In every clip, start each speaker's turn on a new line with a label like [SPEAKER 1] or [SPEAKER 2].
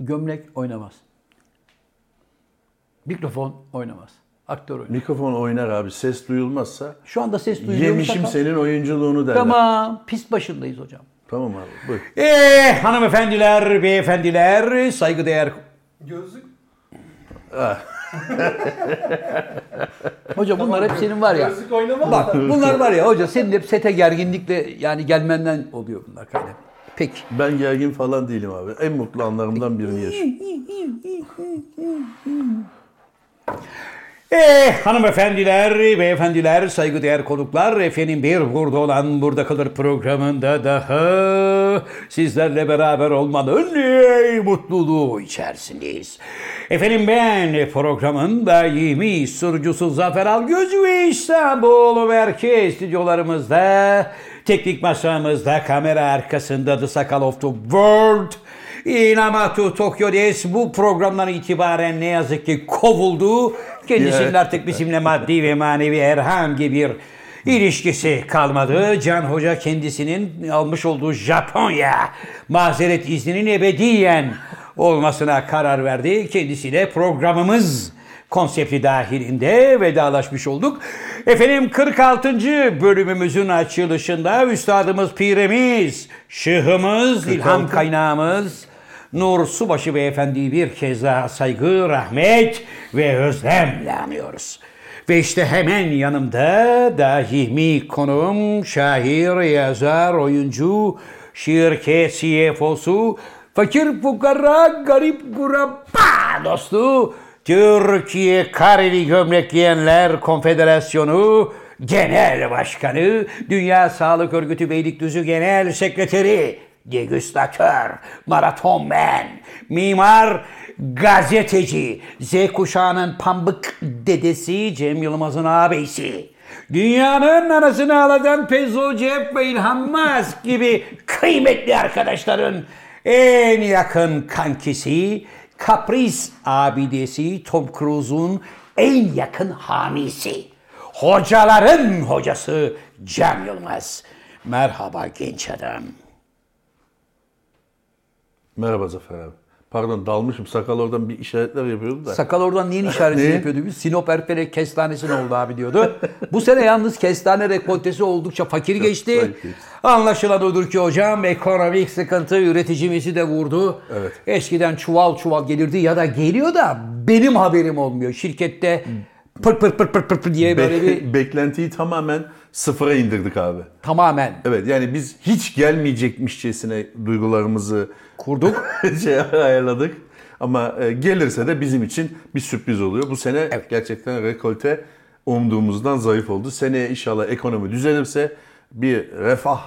[SPEAKER 1] Gömlek oynamaz. Mikrofon oynamaz. Aktör oynar.
[SPEAKER 2] Mikrofon oynar abi. Ses duyulmazsa
[SPEAKER 1] Şu anda ses duyuluyor.
[SPEAKER 2] yemişim senin oyunculuğunu derler. Tamam.
[SPEAKER 1] Tamam. Pis başındayız hocam.
[SPEAKER 2] Tamam abi. Buyur.
[SPEAKER 1] Eee Eh, hanımefendiler, beyefendiler, saygıdeğer... Ah.
[SPEAKER 3] Gözlük
[SPEAKER 1] Hocam bunlar hep senin var ya.
[SPEAKER 3] Gözlük oynamaz
[SPEAKER 1] Bak
[SPEAKER 3] da.
[SPEAKER 1] bunlar var ya hoca senin hep sete gerginlikle yani gelmenden oluyor bunlar kaynak. Peki.
[SPEAKER 2] Ben gergin falan değilim abi. En mutlu anlarımdan birini yaşıyorum.
[SPEAKER 1] Eee Eh, hanımefendiler, beyefendiler, saygıdeğer konuklar, efendim bir burada olan Burada Kalır programında daha sizlerle beraber olmanın eee, mutluluğu içerisindeyiz. Efendim ben programın daimi sunucusu Zafer Algöz ve İstanbul Merkez stüdyolarımızda, teknik masamızda, kamera arkasında The Sakal of the World Inamatu Tokyo DS bu programdan itibaren ne yazık ki kovuldu. Kendisinin
[SPEAKER 2] Evet.
[SPEAKER 1] artık bizimle maddi ve manevi herhangi bir ilişkisi kalmadı. Can Hoca kendisinin almış olduğu Japonya mazeret izninin ebediyen olmasına karar verdi. Kendisiyle programımız konsepti dahilinde vedalaşmış olduk. Efendim 46. bölümümüzün açılışında üstadımız, pirimiz, şıhımız, ilham kaynağımız Nur Subaşı Beyefendi'yi bir kez daha saygı, rahmet ve özlemle anıyoruz. Ve işte hemen yanımda daimi konuğum, şair, yazar, oyuncu, şirket CFO'su, fakir fukara, garip kurabba dostu, Türkiye Kareli Gömlek Giyenler Konfederasyonu Genel Başkanı, Dünya Sağlık Örgütü Beylikdüzü Genel Sekreteri, degüstatör, maraton men, mimar, gazeteci, Z kuşağının pambık dedesi Cem Yılmaz'ın ağabeyisi. Dünyanın anasını ağlatan Pezo Cep ve İlhan Musk gibi kıymetli arkadaşların en yakın kankisi, kapris abidesi Tom Cruise'un en yakın hamisi. Hocaların hocası Cem Yılmaz. Merhaba genç adam.
[SPEAKER 2] Merhaba Zafer abi. Pardon dalmışım. Sakal oradan bir işaretler yapıyordu da.
[SPEAKER 1] Sakal oradan niye işareti
[SPEAKER 2] Ne?
[SPEAKER 1] yapıyordu biz? Sinop Erfelek kestanesi ne oldu abi diyordu. Bu sene yalnız kestane rekoltesi oldukça fakir geçti.
[SPEAKER 2] fakir.
[SPEAKER 1] Anlaşılan odur ki hocam ekonomik sıkıntı üreticimizi de vurdu.
[SPEAKER 2] Evet.
[SPEAKER 1] Eskiden çuval çuval gelirdi ya da geliyor da benim haberim olmuyor. Şirkette pır pır pır pır pır, pır diye böyle bir
[SPEAKER 2] Hmm. Be- beklentiyi tamamen sıfıra indirdik abi.
[SPEAKER 1] tamamen
[SPEAKER 2] Evet yani biz hiç gelmeyecekmişçesine duygularımızı
[SPEAKER 1] kurduk.
[SPEAKER 2] şey ayarladık. Ama e, gelirse de bizim için bir sürpriz oluyor. Bu sene gerçekten rekolte umduğumuzdan zayıf oldu. Seneye inşallah ekonomi düzelirse bir refah,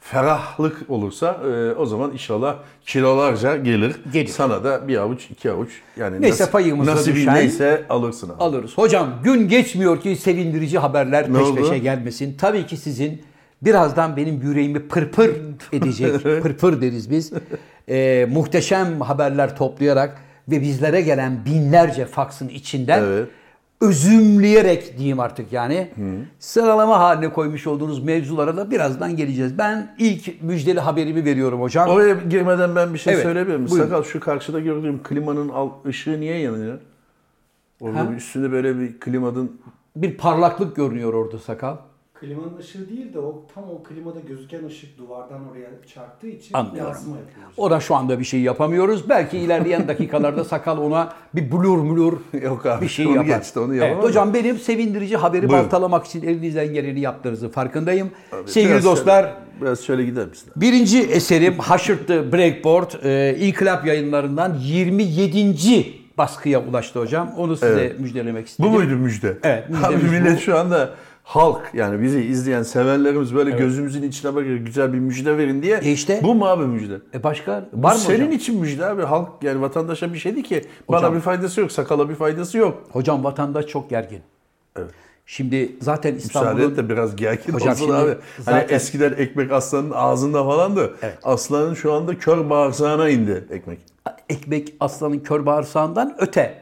[SPEAKER 2] ferahlık olursa e, o zaman inşallah kilolarca gelir.
[SPEAKER 1] Gelir.
[SPEAKER 2] Sana da bir avuç, iki avuç yani
[SPEAKER 1] Neyse
[SPEAKER 2] nasip-
[SPEAKER 1] payımıza
[SPEAKER 2] nasibin
[SPEAKER 1] düşen-
[SPEAKER 2] neyse alırsın abi.
[SPEAKER 1] alırız. Hocam gün geçmiyor ki sevindirici haberler
[SPEAKER 2] Ne
[SPEAKER 1] peş
[SPEAKER 2] oldu?
[SPEAKER 1] peşe gelmesin. Tabii ki sizin birazdan benim yüreğimi pırpır edecek, pırpır deriz biz. Ee, muhteşem haberler toplayarak ve bizlere gelen binlerce faksın içinden
[SPEAKER 2] Evet.
[SPEAKER 1] özümleyerek diyeyim artık yani sıralama haline koymuş olduğunuz mevzulara da birazdan geleceğiz. Ben ilk müjdeli haberimi veriyorum hocam.
[SPEAKER 2] Oraya girmeden ben bir şey
[SPEAKER 1] Evet,
[SPEAKER 2] söyleyebilir miyim?
[SPEAKER 1] buyurun.
[SPEAKER 2] Sakal şu karşıda gördüğüm klimanın al, ışığı niye yanıyor? Orada
[SPEAKER 1] Ha?
[SPEAKER 2] bir üstünde böyle bir klimanın
[SPEAKER 1] Bir parlaklık görünüyor orada sakal.
[SPEAKER 3] Klimanın ışığı değil de o tam o klimada gözüken ışık duvardan oraya çarptığı için
[SPEAKER 1] Anlıyorum.
[SPEAKER 3] yansıma yapıyoruz.
[SPEAKER 1] O da şu anda bir şey yapamıyoruz. Belki ilerleyen dakikalarda sakal ona bir blur mulur
[SPEAKER 2] Yok abi,
[SPEAKER 1] bir şey
[SPEAKER 2] onu
[SPEAKER 1] yapar.
[SPEAKER 2] geçti, onu
[SPEAKER 1] Evet,
[SPEAKER 2] yapamam.
[SPEAKER 1] hocam benim sevindirici haberi
[SPEAKER 2] Buyurun.
[SPEAKER 1] baltalamak için elinizden geleni yaptığınızı farkındayım.
[SPEAKER 2] Biraz
[SPEAKER 1] Sevgili dostlar
[SPEAKER 2] Şöyle, biraz şöyle gider misin?
[SPEAKER 1] birinci eserim Haşırtlı Breakboard e, İnkılap yayınlarından 27. baskıya ulaştı hocam. Onu size müjdelemek
[SPEAKER 2] Bu
[SPEAKER 1] istedim.
[SPEAKER 2] muydu müjde?
[SPEAKER 1] Evet,
[SPEAKER 2] Abi
[SPEAKER 1] müjdemiz
[SPEAKER 2] millet
[SPEAKER 1] bu.
[SPEAKER 2] şu anda halk yani bizi izleyen sevenlerimiz böyle gözümüzün içine bakıyor güzel bir müjde verin diye.
[SPEAKER 1] E işte.
[SPEAKER 2] Bu mu abi müjde?
[SPEAKER 1] E başka
[SPEAKER 2] Bu
[SPEAKER 1] var mı
[SPEAKER 2] senin
[SPEAKER 1] hocam?
[SPEAKER 2] için müjde abi. Halk yani vatandaşa bir şeydi ki
[SPEAKER 1] Hocam.
[SPEAKER 2] bana bir faydası yok, sakala bir faydası yok.
[SPEAKER 1] Hocam vatandaş çok gergin.
[SPEAKER 2] Evet.
[SPEAKER 1] Şimdi zaten
[SPEAKER 2] Müsaade
[SPEAKER 1] İstanbul'un
[SPEAKER 2] et de biraz gergin
[SPEAKER 1] Hocam
[SPEAKER 2] olsun
[SPEAKER 1] şimdi
[SPEAKER 2] abi. Hani
[SPEAKER 1] zaten-
[SPEAKER 2] eskiden ekmek aslanın ağzında falandı. Aslanın şu anda kör bağırsağına indi ekmek.
[SPEAKER 1] ekmek aslanın kör bağırsağından öte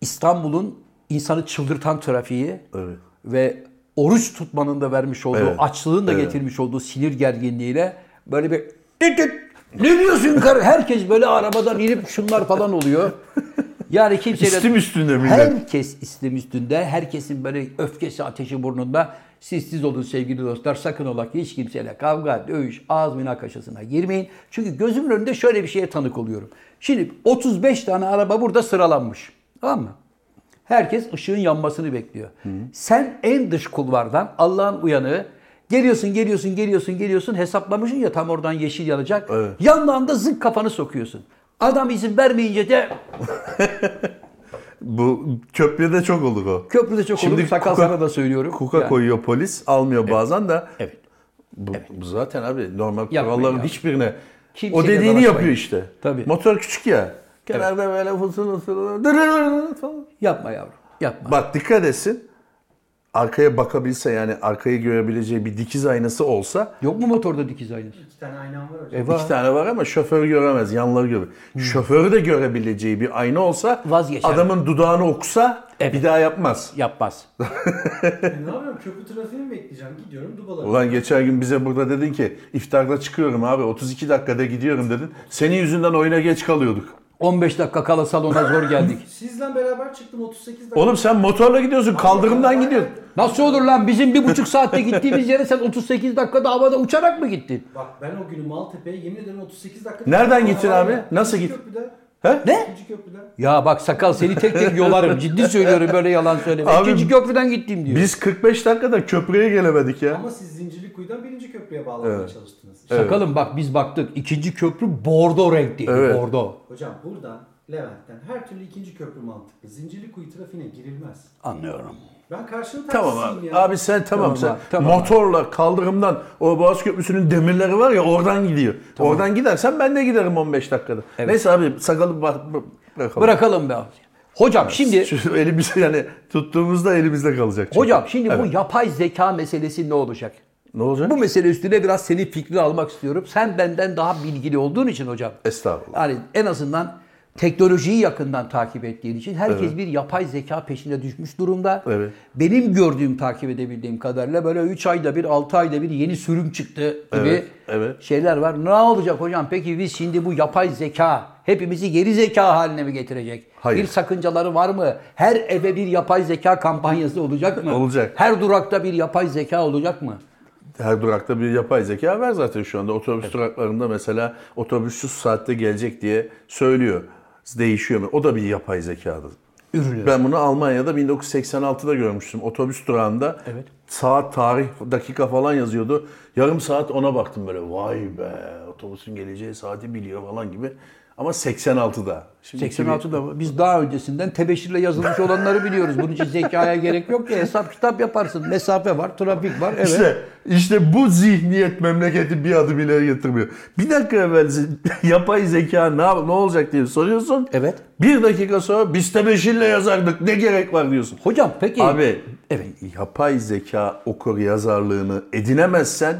[SPEAKER 1] İstanbul'un insanı çıldırtan trafiği
[SPEAKER 2] Evet.
[SPEAKER 1] ve oruç tutmanın da vermiş olduğu,
[SPEAKER 2] Evet,
[SPEAKER 1] açlığın da
[SPEAKER 2] evet.
[SPEAKER 1] getirmiş olduğu sinir gerginliğiyle böyle bir Ne diyorsun karı? Herkes böyle arabadan inip şunlar falan oluyor. Yani kimseyle...
[SPEAKER 2] İstim üstünde millet.
[SPEAKER 1] şey Herkes istim üstünde. Herkesin böyle öfkesi ateşi burnunda. Siz siz olun sevgili dostlar. Sakın ola ki hiç kimseyle kavga, dövüş, ağız münakaşasına girmeyin. Çünkü gözümün önünde şöyle bir şeye tanık oluyorum. Şimdi 35 tane araba burada sıralanmış. Tamam mı? Herkes ışığın yanmasını bekliyor. Sen en dış kulvardan Allah'ın uyanığı geliyorsun geliyorsun geliyorsun geliyorsun hesaplamışsın ya tam oradan yeşil yanacak.
[SPEAKER 2] Evet.
[SPEAKER 1] Yandan da zık kafanı sokuyorsun. Adam izin vermeyince de
[SPEAKER 2] Bu köprüde çok olduk o.
[SPEAKER 1] köprüde çok
[SPEAKER 2] Şimdi
[SPEAKER 1] olur. Sakal
[SPEAKER 2] kuka-
[SPEAKER 1] sana da söylüyorum.
[SPEAKER 2] Kuka
[SPEAKER 1] Yani-
[SPEAKER 2] koyuyor polis almıyor bazen de.
[SPEAKER 1] Evet.
[SPEAKER 2] Bu, bu zaten abi normal
[SPEAKER 1] Yapmayın
[SPEAKER 2] kuralların
[SPEAKER 1] ya.
[SPEAKER 2] hiçbirine.
[SPEAKER 1] Kimseyle
[SPEAKER 2] o dediğini
[SPEAKER 1] dalaşmayın.
[SPEAKER 2] yapıyor işte.
[SPEAKER 1] Tabii.
[SPEAKER 2] Motor küçük ya. Kenarda böyle fısıl fısıl dırırırır falan.
[SPEAKER 1] Yapma yavrum. Yapma.
[SPEAKER 2] Bak dikkat etsin. Arkaya bakabilse yani arkayı görebileceği bir dikiz aynası olsa
[SPEAKER 1] Yok mu motorda dikiz aynası?
[SPEAKER 3] İki tane aynam var hocam.
[SPEAKER 1] E Hmm.
[SPEAKER 2] İki tane var ama şoför göremez, yanları görür. Şoförü de görebileceği bir ayna olsa
[SPEAKER 1] Vazgeçer.
[SPEAKER 2] adamın dudağını okusa
[SPEAKER 1] Evet.
[SPEAKER 2] bir daha yapmaz.
[SPEAKER 1] Yapmaz.
[SPEAKER 3] E, ne yapıyorum? Köprü trafiğini mi bekleyeceğim? Gidiyorum dubalara.
[SPEAKER 2] Ulan geçen gün bize burada dedin ki iftarda çıkıyorum abi 32 dakikada gidiyorum dedin. Senin yüzünden oyuna geç kalıyorduk.
[SPEAKER 1] 15 dakika kala salona zor geldik.
[SPEAKER 3] Sizle beraber çıktım 38 dakika.
[SPEAKER 2] Oğlum sen motorla gidiyorsun kaldırımdan gidiyorsun.
[SPEAKER 1] Nasıl olur lan bizim bir buçuk saatte gittiğimiz yere sen 38 dakikada havada uçarak mı gittin?
[SPEAKER 3] Bak ben o günü Maltepe'ye yemin ederim 38 dakika.
[SPEAKER 2] Nereden gittin abi? Nasıl
[SPEAKER 3] İkinci
[SPEAKER 2] git-
[SPEAKER 3] Köprüde.
[SPEAKER 2] He?
[SPEAKER 1] Ne?
[SPEAKER 3] İkinci köprüden.
[SPEAKER 1] Ya bak sakal seni tek tek yolarım. Ciddi söylüyorum böyle yalan söyleme.
[SPEAKER 2] Abi-
[SPEAKER 1] İkinci köprüden gittim diyor.
[SPEAKER 2] Biz 45 dakikada köprüye gelemedik ya.
[SPEAKER 3] Ama siz Zincirlikuyu'dan birinci köprüye bağlamaya çalıştınız.
[SPEAKER 1] Sakalım bak biz baktık. İkinci köprü bordo renkli.
[SPEAKER 2] Evet.
[SPEAKER 1] Bordo.
[SPEAKER 3] Hocam buradan Levent'ten her türlü ikinci köprü mantıklı. Zincirlikuyu trafiğine girilmez.
[SPEAKER 1] Anlıyorum.
[SPEAKER 3] Ben karşının tersiyim
[SPEAKER 2] Tamam abi.
[SPEAKER 3] ya.
[SPEAKER 2] Abi sen tamam,
[SPEAKER 1] Tamam
[SPEAKER 2] sen
[SPEAKER 1] abi, tamam abi.
[SPEAKER 2] motorla kaldırımdan o Boğaz Köprüsü'nün demirleri var ya oradan gidiyor. Oradan gidersen ben de giderim 15 dakikada. Neyse abi sakalı bak, bak- bırakalım.
[SPEAKER 1] Bırakalım be. Hocam şimdi
[SPEAKER 2] Şu elimizi yani tuttuğumuzda elimizde kalacak. çünkü.
[SPEAKER 1] hocam şimdi bu
[SPEAKER 2] Evet.
[SPEAKER 1] yapay zeka meselesi ne olacak?
[SPEAKER 2] ne olacak?
[SPEAKER 1] Bu mesele üstüne biraz senin fikrini almak istiyorum. Sen benden daha bilgili olduğun için hocam.
[SPEAKER 2] Estağfurullah.
[SPEAKER 1] Yani en azından teknolojiyi yakından takip ettiğin için herkes bir yapay zeka peşine düşmüş durumda.
[SPEAKER 2] Evet.
[SPEAKER 1] Benim gördüğüm, takip edebildiğim kadarıyla böyle 3 ayda bir, 6 ayda bir yeni sürüm çıktı gibi
[SPEAKER 2] Evet, evet.
[SPEAKER 1] şeyler var. Ne olacak hocam? Peki biz şimdi bu yapay zeka hepimizi geri zeka haline mi getirecek?
[SPEAKER 2] Hayır.
[SPEAKER 1] Bir sakıncaları var mı? Her eve bir yapay zeka kampanyası olacak mı?
[SPEAKER 2] Olacak.
[SPEAKER 1] Her durakta bir yapay zeka olacak mı?
[SPEAKER 2] Her durakta bir yapay zeka var zaten şu anda. Otobüs duraklarında mesela otobüs şu saatte gelecek diye söylüyor. Değişiyor mu? O da bir yapay zekadır.
[SPEAKER 1] Ürünü.
[SPEAKER 2] Ben bunu Almanya'da 1986'da görmüştüm. Otobüs durağında
[SPEAKER 1] Evet.
[SPEAKER 2] saat, tarih, dakika falan yazıyordu. Yarım saat ona baktım böyle vay be otobüsün geleceği saati biliyor falan gibi. Ama 86'da. Şimdi
[SPEAKER 1] 86'da mı? Biz daha öncesinden tebeşirle yazılmış olanları biliyoruz. Bunun için zekaya gerek yok ki. Hesap kitap yaparsın. Mesafe var, trafik var. Evet.
[SPEAKER 2] İşte, işte bu zihniyet memleketi bir adım ileri getirmiyor. Bir dakika evvel ze- yapay zeka ne, yap- ne olacak diye soruyorsun.
[SPEAKER 1] Evet.
[SPEAKER 2] Bir dakika sonra biz tebeşirle yazardık ne gerek var diyorsun.
[SPEAKER 1] Hocam peki
[SPEAKER 2] Abi
[SPEAKER 1] Evet.
[SPEAKER 2] yapay zeka okur yazarlığını edinemezsen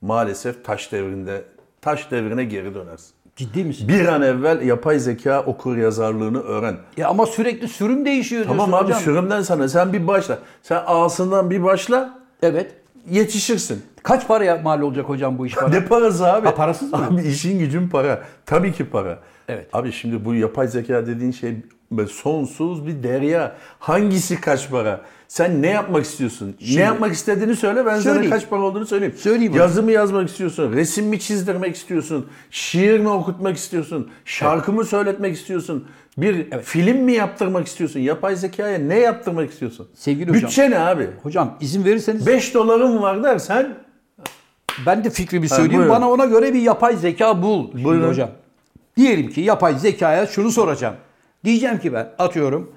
[SPEAKER 2] maalesef taş devrinde taş devrine geri dönersin.
[SPEAKER 1] ciddi misin?
[SPEAKER 2] Bir an evvel yapay zeka okur yazarlığını öğren.
[SPEAKER 1] Ya E, ama sürekli sürüm değişiyor diyorsun
[SPEAKER 2] Tamam abi
[SPEAKER 1] hocam.
[SPEAKER 2] sürümden sana sen bir başla. Sen A'sından bir başla
[SPEAKER 1] Evet.
[SPEAKER 2] yetişirsin.
[SPEAKER 1] Kaç paraya mal olacak hocam bu iş bana?
[SPEAKER 2] Ne parası abi?
[SPEAKER 1] Ha, parasız mı?
[SPEAKER 2] Abi işin gücün para. Tabii ki para.
[SPEAKER 1] Evet.
[SPEAKER 2] Abi şimdi bu yapay zeka dediğin şey böyle sonsuz bir derya. Hangisi kaç para? Sen ne yapmak istiyorsun? ne yapmak istediğini söyle ben
[SPEAKER 1] Söyleyeyim.
[SPEAKER 2] sana kaç para olduğunu söyleyeyim.
[SPEAKER 1] Söyleyeyim hocam.
[SPEAKER 2] Yazı mı yazmak istiyorsun? Resim mi çizdirmek istiyorsun? Şiir mi okutmak istiyorsun? Şarkı mı söyletmek istiyorsun? Bir film mi yaptırmak istiyorsun? Yapay zekaya ne yaptırmak istiyorsun?
[SPEAKER 1] Sevgili hocam.
[SPEAKER 2] Bütçe ne abi?
[SPEAKER 1] Hocam izin verirseniz
[SPEAKER 2] 5 dolarım var dersen
[SPEAKER 1] ben de fikrimi söyleyeyim.
[SPEAKER 2] buyurun.
[SPEAKER 1] Bana ona göre bir yapay zeka bul. Şimdi
[SPEAKER 2] Buyurun.
[SPEAKER 1] hocam. Diyelim ki yapay zekaya şunu soracağım. Diyeceğim ki ben atıyorum.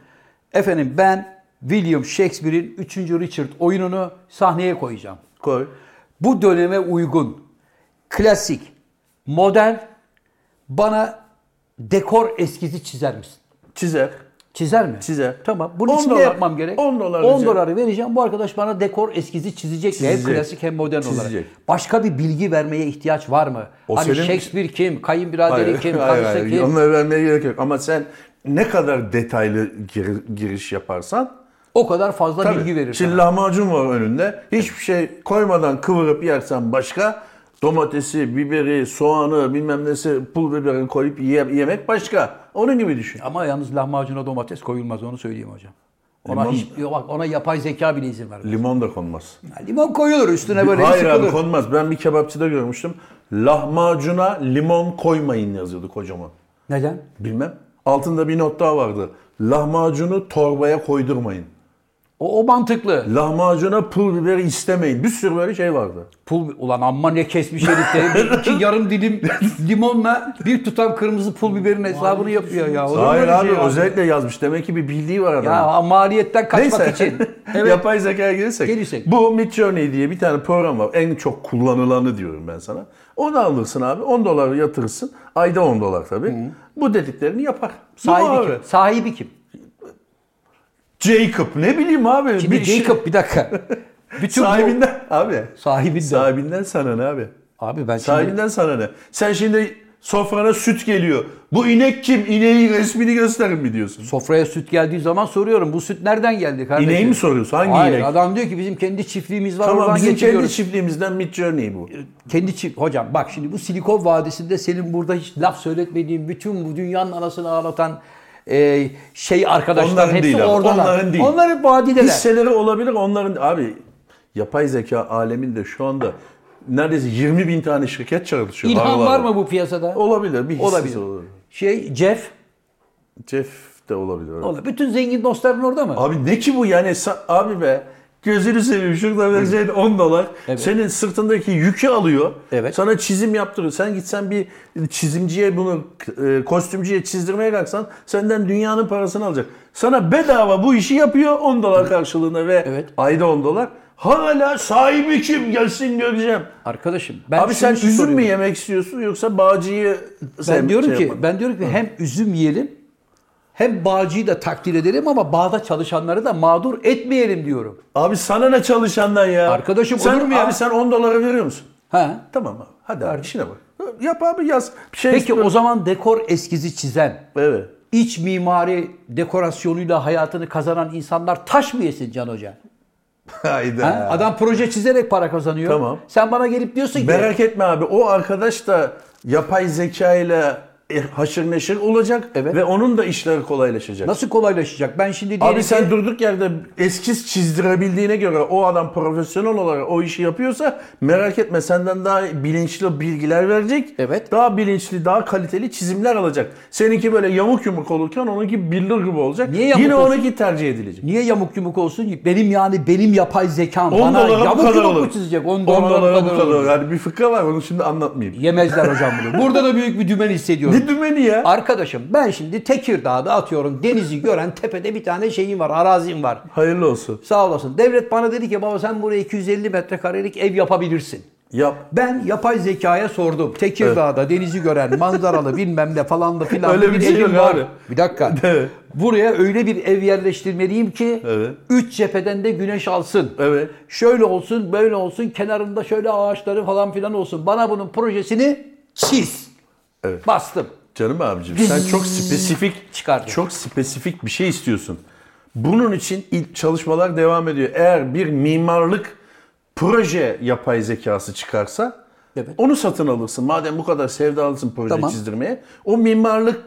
[SPEAKER 1] Efendim ben William Shakespeare'in 3. Richard oyununu sahneye koyacağım.
[SPEAKER 2] koy.
[SPEAKER 1] bu döneme uygun, klasik, modern bana dekor eskizi çizer misin?
[SPEAKER 2] Çizer.
[SPEAKER 1] Çizer mi?
[SPEAKER 2] Çizer.
[SPEAKER 1] Tamam. Bunun
[SPEAKER 2] 10
[SPEAKER 1] için ne
[SPEAKER 2] dolar-
[SPEAKER 1] yapmam gerek?
[SPEAKER 2] 10 dolar
[SPEAKER 1] 10
[SPEAKER 2] rica-
[SPEAKER 1] doları vereceğim. Bu arkadaş bana dekor eskizi çizecek. mi? Hem
[SPEAKER 2] Çizecek.
[SPEAKER 1] klasik hem modern olarak.
[SPEAKER 2] Çizecek.
[SPEAKER 1] Başka bir bilgi vermeye ihtiyaç var mı?
[SPEAKER 2] O
[SPEAKER 1] hani
[SPEAKER 2] senin-
[SPEAKER 1] Shakespeare kim? Kayınbiraderi kim?
[SPEAKER 2] hayır,
[SPEAKER 1] Karısı
[SPEAKER 2] hayır.
[SPEAKER 1] kim?
[SPEAKER 2] Onları vermeye gerek yok. Ama sen ne kadar detaylı gir- giriş yaparsan
[SPEAKER 1] O kadar fazla bilgi verir.
[SPEAKER 2] Şimdi
[SPEAKER 1] sana.
[SPEAKER 2] lahmacun var önünde. Hiçbir şey koymadan kıvırıp yersen başka domatesi, biberi, soğanı, bilmem nesi, pul biberini koyup ye- yemek başka. Onun gibi düşün.
[SPEAKER 1] Ama yalnız lahmacuna domates koyulmaz onu söyleyeyim hocam. Ona,
[SPEAKER 2] Limon-
[SPEAKER 1] hiç, bak, ona yapay zeka bile izin vermez.
[SPEAKER 2] Limon da konmaz.
[SPEAKER 1] Ya Limon koyulur üstüne böyle bir
[SPEAKER 2] Hayır abi
[SPEAKER 1] sıkılır.
[SPEAKER 2] konmaz. Ben bir kebapçıda görmüştüm. Lahmacuna limon koymayın yazıyordu kocaman.
[SPEAKER 1] Neden?
[SPEAKER 2] Bilmem. Altında bir not daha vardı. Lahmacunu torbaya koydurmayın.
[SPEAKER 1] O, o mantıklı.
[SPEAKER 2] Lahmacuna pul biberi istemeyin. Bir sürü böyle şey vardı.
[SPEAKER 1] Pul, ulan amma ne kesmiş herif de. Bir iki yarım dilim limonla bir tutam kırmızı pul biberin hesabını yapıyor ya. Olur mu
[SPEAKER 2] Hayır
[SPEAKER 1] öyle
[SPEAKER 2] abi
[SPEAKER 1] şey ya?
[SPEAKER 2] özellikle yazmış. Demek ki bir bildiği var adamın.
[SPEAKER 1] Ya maliyetten kaçmak için. Evet.
[SPEAKER 2] Yapay zekaya gelirsek.
[SPEAKER 1] Gelirsek.
[SPEAKER 2] Bu Midjourney diye bir tane program var. En çok kullanılanı diyorum ben sana. Onu alırsın abi. 10 dolar yatırırsın. Ayda 10 dolar tabii. Bu dediklerini yapar. Bu
[SPEAKER 1] Sahibi
[SPEAKER 2] abi.
[SPEAKER 1] kim? Sahibi kim?
[SPEAKER 2] Jacob ne bileyim abi.
[SPEAKER 1] Şimdi
[SPEAKER 2] bir şey-
[SPEAKER 1] Jacob bir dakika. Bütün sahibinden.
[SPEAKER 2] Sahibinden abi.
[SPEAKER 1] Sahibinden.
[SPEAKER 2] Sahibinden sana ne abi?
[SPEAKER 1] Abi ben şimdi
[SPEAKER 2] Sahibinden sana ne? Sen şimdi sofrana süt geliyor. Bu inek kim? İneğin resmini gösterin mi diyorsun?
[SPEAKER 1] sofraya süt geldiği zaman soruyorum bu süt nereden geldi kardeşim?
[SPEAKER 2] İneği mi soruyorsun? Hangi
[SPEAKER 1] Hayır
[SPEAKER 2] inek?
[SPEAKER 1] adam diyor ki bizim kendi çiftliğimiz var
[SPEAKER 2] Tamam
[SPEAKER 1] oradan
[SPEAKER 2] bizim kendi
[SPEAKER 1] getiriyoruz.
[SPEAKER 2] çiftliğimizden Mid Journey bu.
[SPEAKER 1] kendi çift hocam bak şimdi bu Silikon Vadisi'nde senin burada hiç laf söyletmediğin bütün bu dünyanın anasını ağlatan e, şey arkadaşlar
[SPEAKER 2] Onların
[SPEAKER 1] hepsi
[SPEAKER 2] değil abi,
[SPEAKER 1] oradalar.
[SPEAKER 2] onların değil.
[SPEAKER 1] Onlar hep vadideler.
[SPEAKER 2] Hisseleri olabilir onların. Abi yapay zeka aleminde şu anda neredeyse 20 bin tane şirket çalışıyor.
[SPEAKER 1] İlham
[SPEAKER 2] Harvard'da.
[SPEAKER 1] var mı bu piyasada?
[SPEAKER 2] Olabilir. Bir hissesi
[SPEAKER 1] Olabilir.
[SPEAKER 2] olabilir.
[SPEAKER 1] Şey Jeff,
[SPEAKER 2] Jeff de olabilir. evet.
[SPEAKER 1] ola- bütün zengin dostların orada mı?
[SPEAKER 2] Abi ne ki bu yani Sa- abi be gözünü seveyim şurada vereceğin 10 dolar
[SPEAKER 1] Evet.
[SPEAKER 2] senin sırtındaki yükü alıyor.
[SPEAKER 1] Evet.
[SPEAKER 2] Sana çizim yaptırıyor. Sen gitsen bir çizimciye bunu e, kostümcüye çizdirmeye kalksan senden dünyanın parasını alacak. Sana bedava bu işi yapıyor 10 dolar karşılığında ve
[SPEAKER 1] Evet.
[SPEAKER 2] ayda 10 dolar. Hala sahibi kim gelsin göreceğim.
[SPEAKER 1] Arkadaşım ben
[SPEAKER 2] abi
[SPEAKER 1] şunu şey
[SPEAKER 2] sen üzüm
[SPEAKER 1] soruyorum.
[SPEAKER 2] mü yemek istiyorsun yoksa bağcıyı
[SPEAKER 1] Ben
[SPEAKER 2] sen
[SPEAKER 1] diyorum
[SPEAKER 2] şey
[SPEAKER 1] ki
[SPEAKER 2] yapma.
[SPEAKER 1] ben diyorum ki hem üzüm yiyelim hem bağcıyı da takdir edelim ama bağda çalışanları da mağdur etmeyelim diyorum.
[SPEAKER 2] Abi sana ne çalışandan ya?
[SPEAKER 1] Arkadaşım
[SPEAKER 2] sen,
[SPEAKER 1] olur mu ya?
[SPEAKER 2] Abi sen 10 dolara veriyor musun?
[SPEAKER 1] Ha?
[SPEAKER 2] Tamam abi. Hadi abi işine bak. Yap abi yaz. Bir şey
[SPEAKER 1] Peki o zaman dekor eskizi çizen
[SPEAKER 2] Evet.
[SPEAKER 1] iç mimari dekorasyonuyla hayatını kazanan insanlar taş mı yesin Can Hoca?
[SPEAKER 2] Hayda.
[SPEAKER 1] Ha? Adam proje çizerek para kazanıyor.
[SPEAKER 2] Tamam.
[SPEAKER 1] Sen bana gelip diyorsun ki
[SPEAKER 2] Merak etme abi. O arkadaş da yapay zeka ile e, haşır neşir olacak
[SPEAKER 1] Evet.
[SPEAKER 2] ve onun da işleri kolaylaşacak.
[SPEAKER 1] nasıl kolaylaşacak? Ben şimdi diyelim
[SPEAKER 2] Abi
[SPEAKER 1] ki-
[SPEAKER 2] sen durduk yerde eskiz çizdirebildiğine göre o adam profesyonel olarak o işi yapıyorsa merak etme senden daha bilinçli bilgiler verecek.
[SPEAKER 1] Evet.
[SPEAKER 2] Daha bilinçli, daha kaliteli çizimler alacak. Seninki böyle yamuk yumuk olurken onunki billur gibi olacak.
[SPEAKER 1] Niye yamuk
[SPEAKER 2] Yine
[SPEAKER 1] olsun?
[SPEAKER 2] onunki tercih edilecek.
[SPEAKER 1] Niye yamuk yumuk olsun? Benim yani benim yapay zekam
[SPEAKER 2] 10
[SPEAKER 1] bana
[SPEAKER 2] dolara bu
[SPEAKER 1] yamuk
[SPEAKER 2] kadar
[SPEAKER 1] yumuk
[SPEAKER 2] olur.
[SPEAKER 1] mu çizecek? 10
[SPEAKER 2] 10
[SPEAKER 1] dolara,
[SPEAKER 2] dolara bu kadar
[SPEAKER 1] olur.
[SPEAKER 2] olur. Yani bir fıkra var onu şimdi anlatmayayım.
[SPEAKER 1] Yemezler hocam bunu. Burada da büyük bir dümen hissediyorum.
[SPEAKER 2] Ne dümeni ya?
[SPEAKER 1] Arkadaşım ben şimdi Tekirdağ'da atıyorum denizi gören tepede bir tane şeyim var, arazim var.
[SPEAKER 2] Hayırlı olsun.
[SPEAKER 1] Sağ olasın. Devlet bana dedi ki baba sen buraya 250 metrekarelik ev yapabilirsin.
[SPEAKER 2] Yap.
[SPEAKER 1] Ben yapay zekaya sordum. Tekirdağ'da denizi gören manzaralı bilmem ne falan da filan
[SPEAKER 2] Öyle bir şey
[SPEAKER 1] evim
[SPEAKER 2] yok
[SPEAKER 1] var.
[SPEAKER 2] abi.
[SPEAKER 1] Bir dakika.
[SPEAKER 2] Evet.
[SPEAKER 1] Buraya öyle bir ev yerleştirmeliyim ki
[SPEAKER 2] Evet.
[SPEAKER 1] üç cepheden de güneş alsın.
[SPEAKER 2] Evet.
[SPEAKER 1] Şöyle olsun, böyle olsun, kenarında şöyle ağaçları falan filan olsun. Bana bunun projesini siz
[SPEAKER 2] Evet.
[SPEAKER 1] bastım.
[SPEAKER 2] Canım abicim sen çok spesifik
[SPEAKER 1] Çıkardı.
[SPEAKER 2] Çok spesifik bir şey istiyorsun. Bunun için ilk çalışmalar devam ediyor. Eğer bir mimarlık proje yapay zekası çıkarsa
[SPEAKER 1] Evet.
[SPEAKER 2] onu satın alırsın. Madem bu kadar sevdalısın proje
[SPEAKER 1] Tamam.
[SPEAKER 2] çizdirmeye o mimarlık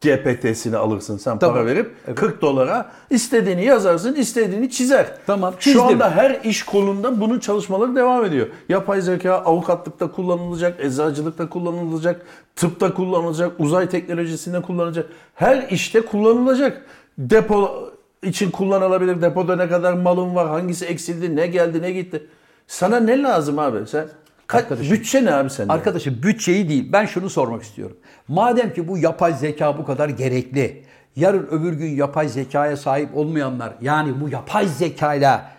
[SPEAKER 2] GPT'sini alırsın sen
[SPEAKER 1] Tamam.
[SPEAKER 2] para verip 40 dolara istediğini yazarsın, istediğini çizer.
[SPEAKER 1] Tamam, çizdim.
[SPEAKER 2] Şu anda her iş kolunda bunun çalışmaları devam ediyor. Yapay zeka avukatlıkta kullanılacak, eczacılıkta kullanılacak, tıpta kullanılacak, uzay teknolojisinde kullanılacak. Her işte kullanılacak. Depo için kullanılabilir. Depoda ne kadar malın var, hangisi eksildi, ne geldi, ne gitti. Sana ne lazım abi? Sen kaç bütçe ne abi sende?
[SPEAKER 1] Arkadaşım bütçeyi değil. Ben şunu sormak istiyorum. Madem ki bu yapay zeka bu kadar gerekli. Yarın öbür gün yapay zekaya sahip olmayanlar yani bu yapay zekayla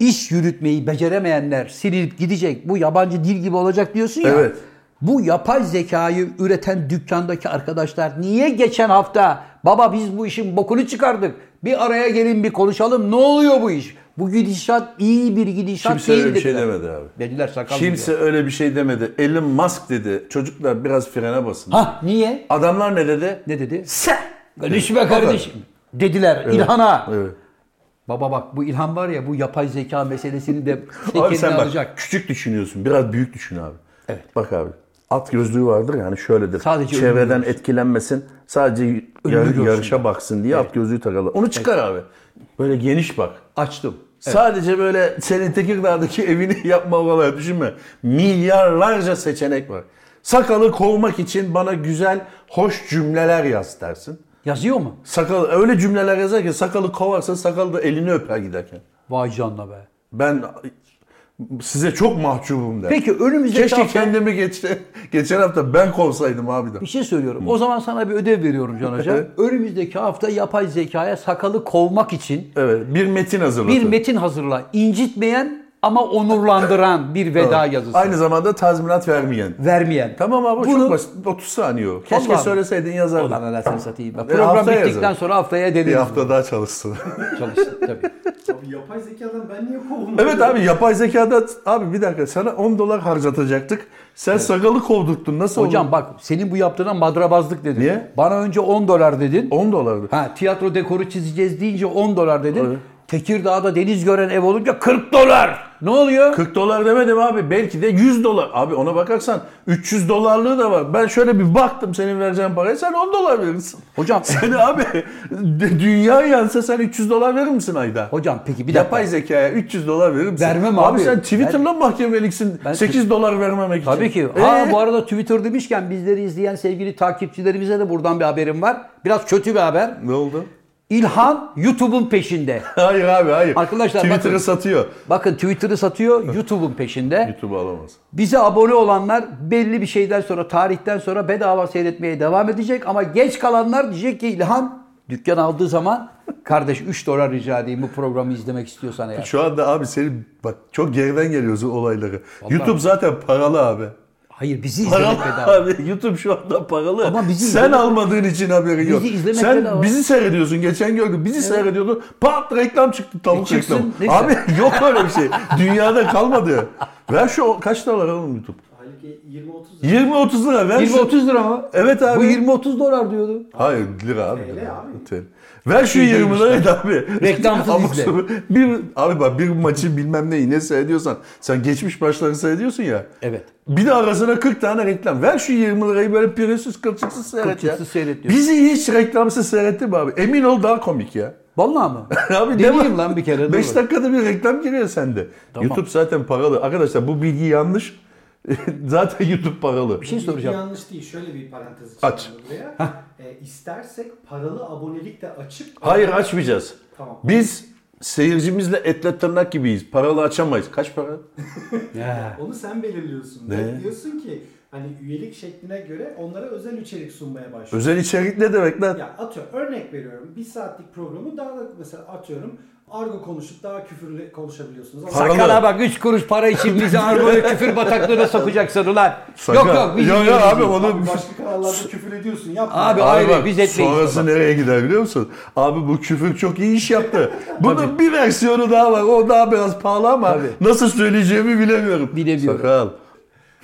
[SPEAKER 1] iş yürütmeyi beceremeyenler silinip gidecek. Bu yabancı dil gibi olacak diyorsun ya.
[SPEAKER 2] Evet.
[SPEAKER 1] Bu yapay zekayı üreten dükkandaki arkadaşlar niye geçen hafta baba biz bu işin bokunu çıkardık. Bir araya gelin bir konuşalım. Ne oluyor bu iş? Bu gidişat iyi bir gidişat
[SPEAKER 2] Kimse
[SPEAKER 1] değil
[SPEAKER 2] öyle bir şey
[SPEAKER 1] dediler.
[SPEAKER 2] demedi abi.
[SPEAKER 1] Dediler sakal
[SPEAKER 2] Kimse öyle bir şey demedi. Elon Musk dedi. Çocuklar biraz frene basın.
[SPEAKER 1] Ha niye?
[SPEAKER 2] Adamlar ne dedi?
[SPEAKER 1] Ne dedi?
[SPEAKER 2] Sen.
[SPEAKER 1] Konuşma kardeşim. Dediler İlhan'a.
[SPEAKER 2] Evet.
[SPEAKER 1] Baba bak bu İlhan var ya bu yapay zeka meselesini de
[SPEAKER 2] Abi
[SPEAKER 1] tekeline
[SPEAKER 2] sen bak
[SPEAKER 1] alacak.
[SPEAKER 2] küçük düşünüyorsun. Biraz büyük düşün abi.
[SPEAKER 1] Evet.
[SPEAKER 2] Bak abi at gözlüğü vardır yani şöyledir.
[SPEAKER 1] Sadece önünü
[SPEAKER 2] Çevreden etkilenmesin. Sadece yar-
[SPEAKER 1] görsün.
[SPEAKER 2] yarışa baksın diye at gözlüğü takarlar. Onu çıkar abi. Böyle geniş bak.
[SPEAKER 1] Açtım.
[SPEAKER 2] Sadece böyle senin Tekirdağ'daki evini yapma olarak düşünme. Milyarlarca seçenek var. Sakalı kovmak için bana güzel, hoş cümleler yaz dersin.
[SPEAKER 1] Yazıyor mu?
[SPEAKER 2] Sakal öyle cümleler yazar ki sakalı kovarsa sakal da elini öper giderken.
[SPEAKER 1] Vay canına be.
[SPEAKER 2] Ben size çok mahcubum der.
[SPEAKER 1] Peki önümüzdeki
[SPEAKER 2] Keşke
[SPEAKER 1] hafta-
[SPEAKER 2] kendimi geçti, geçen hafta ben kovsaydım abi de.
[SPEAKER 1] Bir şey söylüyorum. O zaman sana bir ödev veriyorum Can Hocam. önümüzdeki hafta yapay zekaya sakalı kovmak için
[SPEAKER 2] Evet, bir metin hazırlatın.
[SPEAKER 1] bir metin hazırla. İncitmeyen ama onurlandıran bir veda yazısı.
[SPEAKER 2] Aynı zamanda tazminat vermeyen.
[SPEAKER 1] Vermeyen.
[SPEAKER 2] Tamam abi
[SPEAKER 1] Bunu-
[SPEAKER 2] çok basit. 30 saniye o. Keşke
[SPEAKER 1] Vallahi.
[SPEAKER 2] söyleseydin
[SPEAKER 1] Ulan
[SPEAKER 2] yazardın.
[SPEAKER 1] anasını satayım. Bak,
[SPEAKER 2] E,
[SPEAKER 1] Program
[SPEAKER 2] haftaya
[SPEAKER 1] bittikten
[SPEAKER 2] yazarım.
[SPEAKER 1] sonra haftaya denir.
[SPEAKER 2] Bir hafta daha çalışsın.
[SPEAKER 1] Çalıştım tabii.
[SPEAKER 3] Abi yapay zekadan ben niye kovulmadım?
[SPEAKER 2] evet abi yapay zekada abi bir dakika sana 10 dolar harcatacaktık. Sen sakalı kovdurttun. Nasıl
[SPEAKER 1] Hocam
[SPEAKER 2] oldu?
[SPEAKER 1] bak senin bu yaptığına madrabazlık dedin.
[SPEAKER 2] Niye?
[SPEAKER 1] Bana önce 10 dolar dedin.
[SPEAKER 2] 10 dolardı.
[SPEAKER 1] Ha tiyatro dekoru çizeceğiz deyince 10 dolar dedin.
[SPEAKER 2] Evet.
[SPEAKER 1] Tekirdağ'da deniz gören ev olunca 40 dolar. Ne oluyor?
[SPEAKER 2] 40 dolar demedim abi. Belki de 100 dolar. Abi ona bakarsan 300 dolarlığı da var. Ben şöyle bir baktım senin vereceğin paraya sen 10 dolar verirsin.
[SPEAKER 1] Hocam
[SPEAKER 2] Sen abi d- dünya yansa sen 300 dolar verir misin ayda?
[SPEAKER 1] hocam peki bir dakika.
[SPEAKER 2] Yapay zekaya 300 dolar verir misin?
[SPEAKER 1] Vermem abi.
[SPEAKER 2] sen Twitter'la mı mahkemeliksin
[SPEAKER 1] Ben-
[SPEAKER 2] 8 dolar vermemek için.
[SPEAKER 1] Tabii ki.
[SPEAKER 2] Ee?
[SPEAKER 1] Ha bu arada Twitter demişken bizleri izleyen sevgili takipçilerimize de buradan bir haberim var. Biraz kötü bir haber.
[SPEAKER 2] Ne oldu?
[SPEAKER 1] İlhan YouTube'un peşinde.
[SPEAKER 2] Hayır abi hayır.
[SPEAKER 1] Arkadaşlar
[SPEAKER 2] Twitter'ı
[SPEAKER 1] bakın.
[SPEAKER 2] satıyor.
[SPEAKER 1] Bakın Twitter'ı satıyor, YouTube'un peşinde.
[SPEAKER 2] YouTube'u alamaz.
[SPEAKER 1] Bize abone olanlar belli bir şeyden sonra, tarihten sonra bedava seyretmeye devam edecek. Ama geç kalanlar diyecek ki İlhan dükkan aldığı zaman kardeş 3 dolar rica edeyim bu programı izlemek istiyorsan eğer.
[SPEAKER 2] Şu anda abi senin bak çok geriden geliyorsun olayları. YouTube zaten paralı abi.
[SPEAKER 1] Hayır bizi izlemek
[SPEAKER 2] Paralı
[SPEAKER 1] bedava.
[SPEAKER 2] abi. YouTube şu anda paralı.
[SPEAKER 1] Ama bizi
[SPEAKER 2] Sen
[SPEAKER 1] izlemek-
[SPEAKER 2] almadığın için haberi yok.
[SPEAKER 1] Bizi izlemek
[SPEAKER 2] Sen
[SPEAKER 1] bedava.
[SPEAKER 2] bizi seyrediyorsun. Geçen gördüm. Bizi seyrediyordun. Pat reklam çıktı. Tavuk
[SPEAKER 1] E çıksın,
[SPEAKER 2] reklamı.
[SPEAKER 1] ne
[SPEAKER 2] Abi yok öyle bir şey. Dünyada kalmadı. Ver şu kaç dolar oğlum YouTube?
[SPEAKER 3] Halbuki 20-30 lira.
[SPEAKER 2] 20-30 lira ver. şu-
[SPEAKER 1] 20-30 lira mı?
[SPEAKER 2] Evet abi.
[SPEAKER 1] Bu 20-30 dolar diyordu.
[SPEAKER 2] Hayır lira abi.
[SPEAKER 3] TL abi.
[SPEAKER 2] TL. Ver şu 20 lirayı da abi.
[SPEAKER 1] Reklamsız
[SPEAKER 2] Ama
[SPEAKER 1] izle.
[SPEAKER 2] sonra Bir, abi bak bir maçı bilmem neyi ne seyrediyorsan sen geçmiş maçları seyrediyorsun ya.
[SPEAKER 1] Evet.
[SPEAKER 2] Bir de arasına 40 tane reklam. Ver şu 20 lirayı böyle pürüzsüz kılçıksız seyret ya.
[SPEAKER 1] Kılçıksız seyret diyorsun.
[SPEAKER 2] Bizi hiç reklamsız seyretti mi abi? Emin ol daha komik ya.
[SPEAKER 1] Vallahi mı?
[SPEAKER 2] Abi
[SPEAKER 1] Deneyeyim lan bir kere.
[SPEAKER 2] 5
[SPEAKER 1] dur.
[SPEAKER 2] dakikada bir reklam giriyor sende.
[SPEAKER 1] Tamam.
[SPEAKER 2] YouTube zaten paralı. Arkadaşlar bu bilgi yanlış. zaten YouTube paralı.
[SPEAKER 1] Bir şey soracağım.
[SPEAKER 3] Yanlış değil. Şöyle bir parantez
[SPEAKER 2] Aç.
[SPEAKER 3] açalım buraya. E, istersek paralı abonelik de açıp
[SPEAKER 2] Hayır açmayacağız.
[SPEAKER 3] Tamam.
[SPEAKER 2] Biz seyircimizle etle tırnak gibiyiz. Paralı açamayız. Kaç para?
[SPEAKER 1] Ya.
[SPEAKER 3] Onu sen belirliyorsun.
[SPEAKER 2] Ne?
[SPEAKER 3] Diyorsun ki hani üyelik şekline göre onlara özel içerik sunmaya başlıyor.
[SPEAKER 2] Özel içerik ne demek lan?
[SPEAKER 3] Ya atıyorum örnek veriyorum. Bir saatlik programı daha da mesela atıyorum. Argo konuşup daha küfürlü konuşabiliyorsunuz. Ama
[SPEAKER 2] Sakal.
[SPEAKER 1] Sakala bak 3 kuruş para için bizi argo ve küfür bataklığına sokacaksın ulan.
[SPEAKER 2] Şaka.
[SPEAKER 1] Yok yok biz
[SPEAKER 2] Yok, yok
[SPEAKER 1] izliyoruz.
[SPEAKER 2] abi onu...
[SPEAKER 3] Abi başka kanallarda küfür ediyorsun yapma.
[SPEAKER 1] Abi,
[SPEAKER 2] Abi
[SPEAKER 1] ayrı,
[SPEAKER 2] bak,
[SPEAKER 1] biz etmeyiz
[SPEAKER 2] Sonrası
[SPEAKER 1] baba.
[SPEAKER 2] nereye gider biliyor musun? Abi bu küfür çok iyi iş yaptı. Bunun bir versiyonu daha var. O daha biraz pahalı ama
[SPEAKER 1] Tabii.
[SPEAKER 2] nasıl söyleyeceğimi bilemiyorum.
[SPEAKER 1] Bilemiyorum.
[SPEAKER 2] Sakal.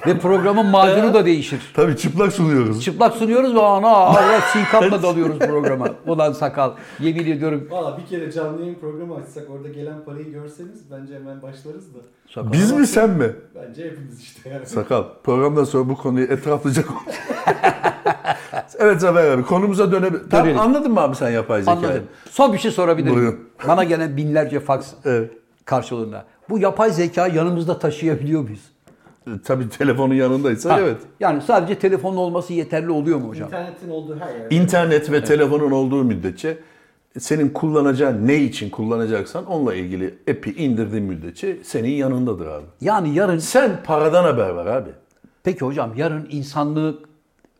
[SPEAKER 1] Ve programın macunu da değişir.
[SPEAKER 2] Tabii çıplak sunuyoruz.
[SPEAKER 1] Çıplak sunuyoruz ve ana Allah sinkapla dalıyoruz programa. Ulan sakal yemin ediyorum.
[SPEAKER 3] Valla bir kere canlı yayın programı açsak orada gelen parayı görseniz bence hemen başlarız da.
[SPEAKER 1] Sakal.
[SPEAKER 2] Biz mi sen mi?
[SPEAKER 3] Bence hepimiz işte yani.
[SPEAKER 2] Sakal. Programdan sonra bu konuyu etraflıca konuş. evet Zafer abi konumuza dönelim. Tamam,
[SPEAKER 1] Dönelim.
[SPEAKER 2] anladın mı abi sen yapay zekayı?
[SPEAKER 1] Anladım. Son bir şey sorabilir miyim?
[SPEAKER 2] Buyurun.
[SPEAKER 1] Bana gelen binlerce faks
[SPEAKER 2] Evet.
[SPEAKER 1] karşılığında. Bu yapay zeka yanımızda taşıyabiliyor muyuz?
[SPEAKER 2] E, Tabii telefonun yanındaysa
[SPEAKER 1] Ha,
[SPEAKER 2] evet.
[SPEAKER 1] Yani sadece telefonun olması yeterli oluyor mu hocam?
[SPEAKER 3] İnternetin olduğu her yerde.
[SPEAKER 2] İnternet ve telefonun olduğu müddetçe senin kullanacağın ne için kullanacaksan onunla ilgili app'i indirdiğin müddetçe senin yanındadır abi.
[SPEAKER 1] Yani yarın
[SPEAKER 2] Sen paradan haber ver abi.
[SPEAKER 1] peki hocam yarın insanlık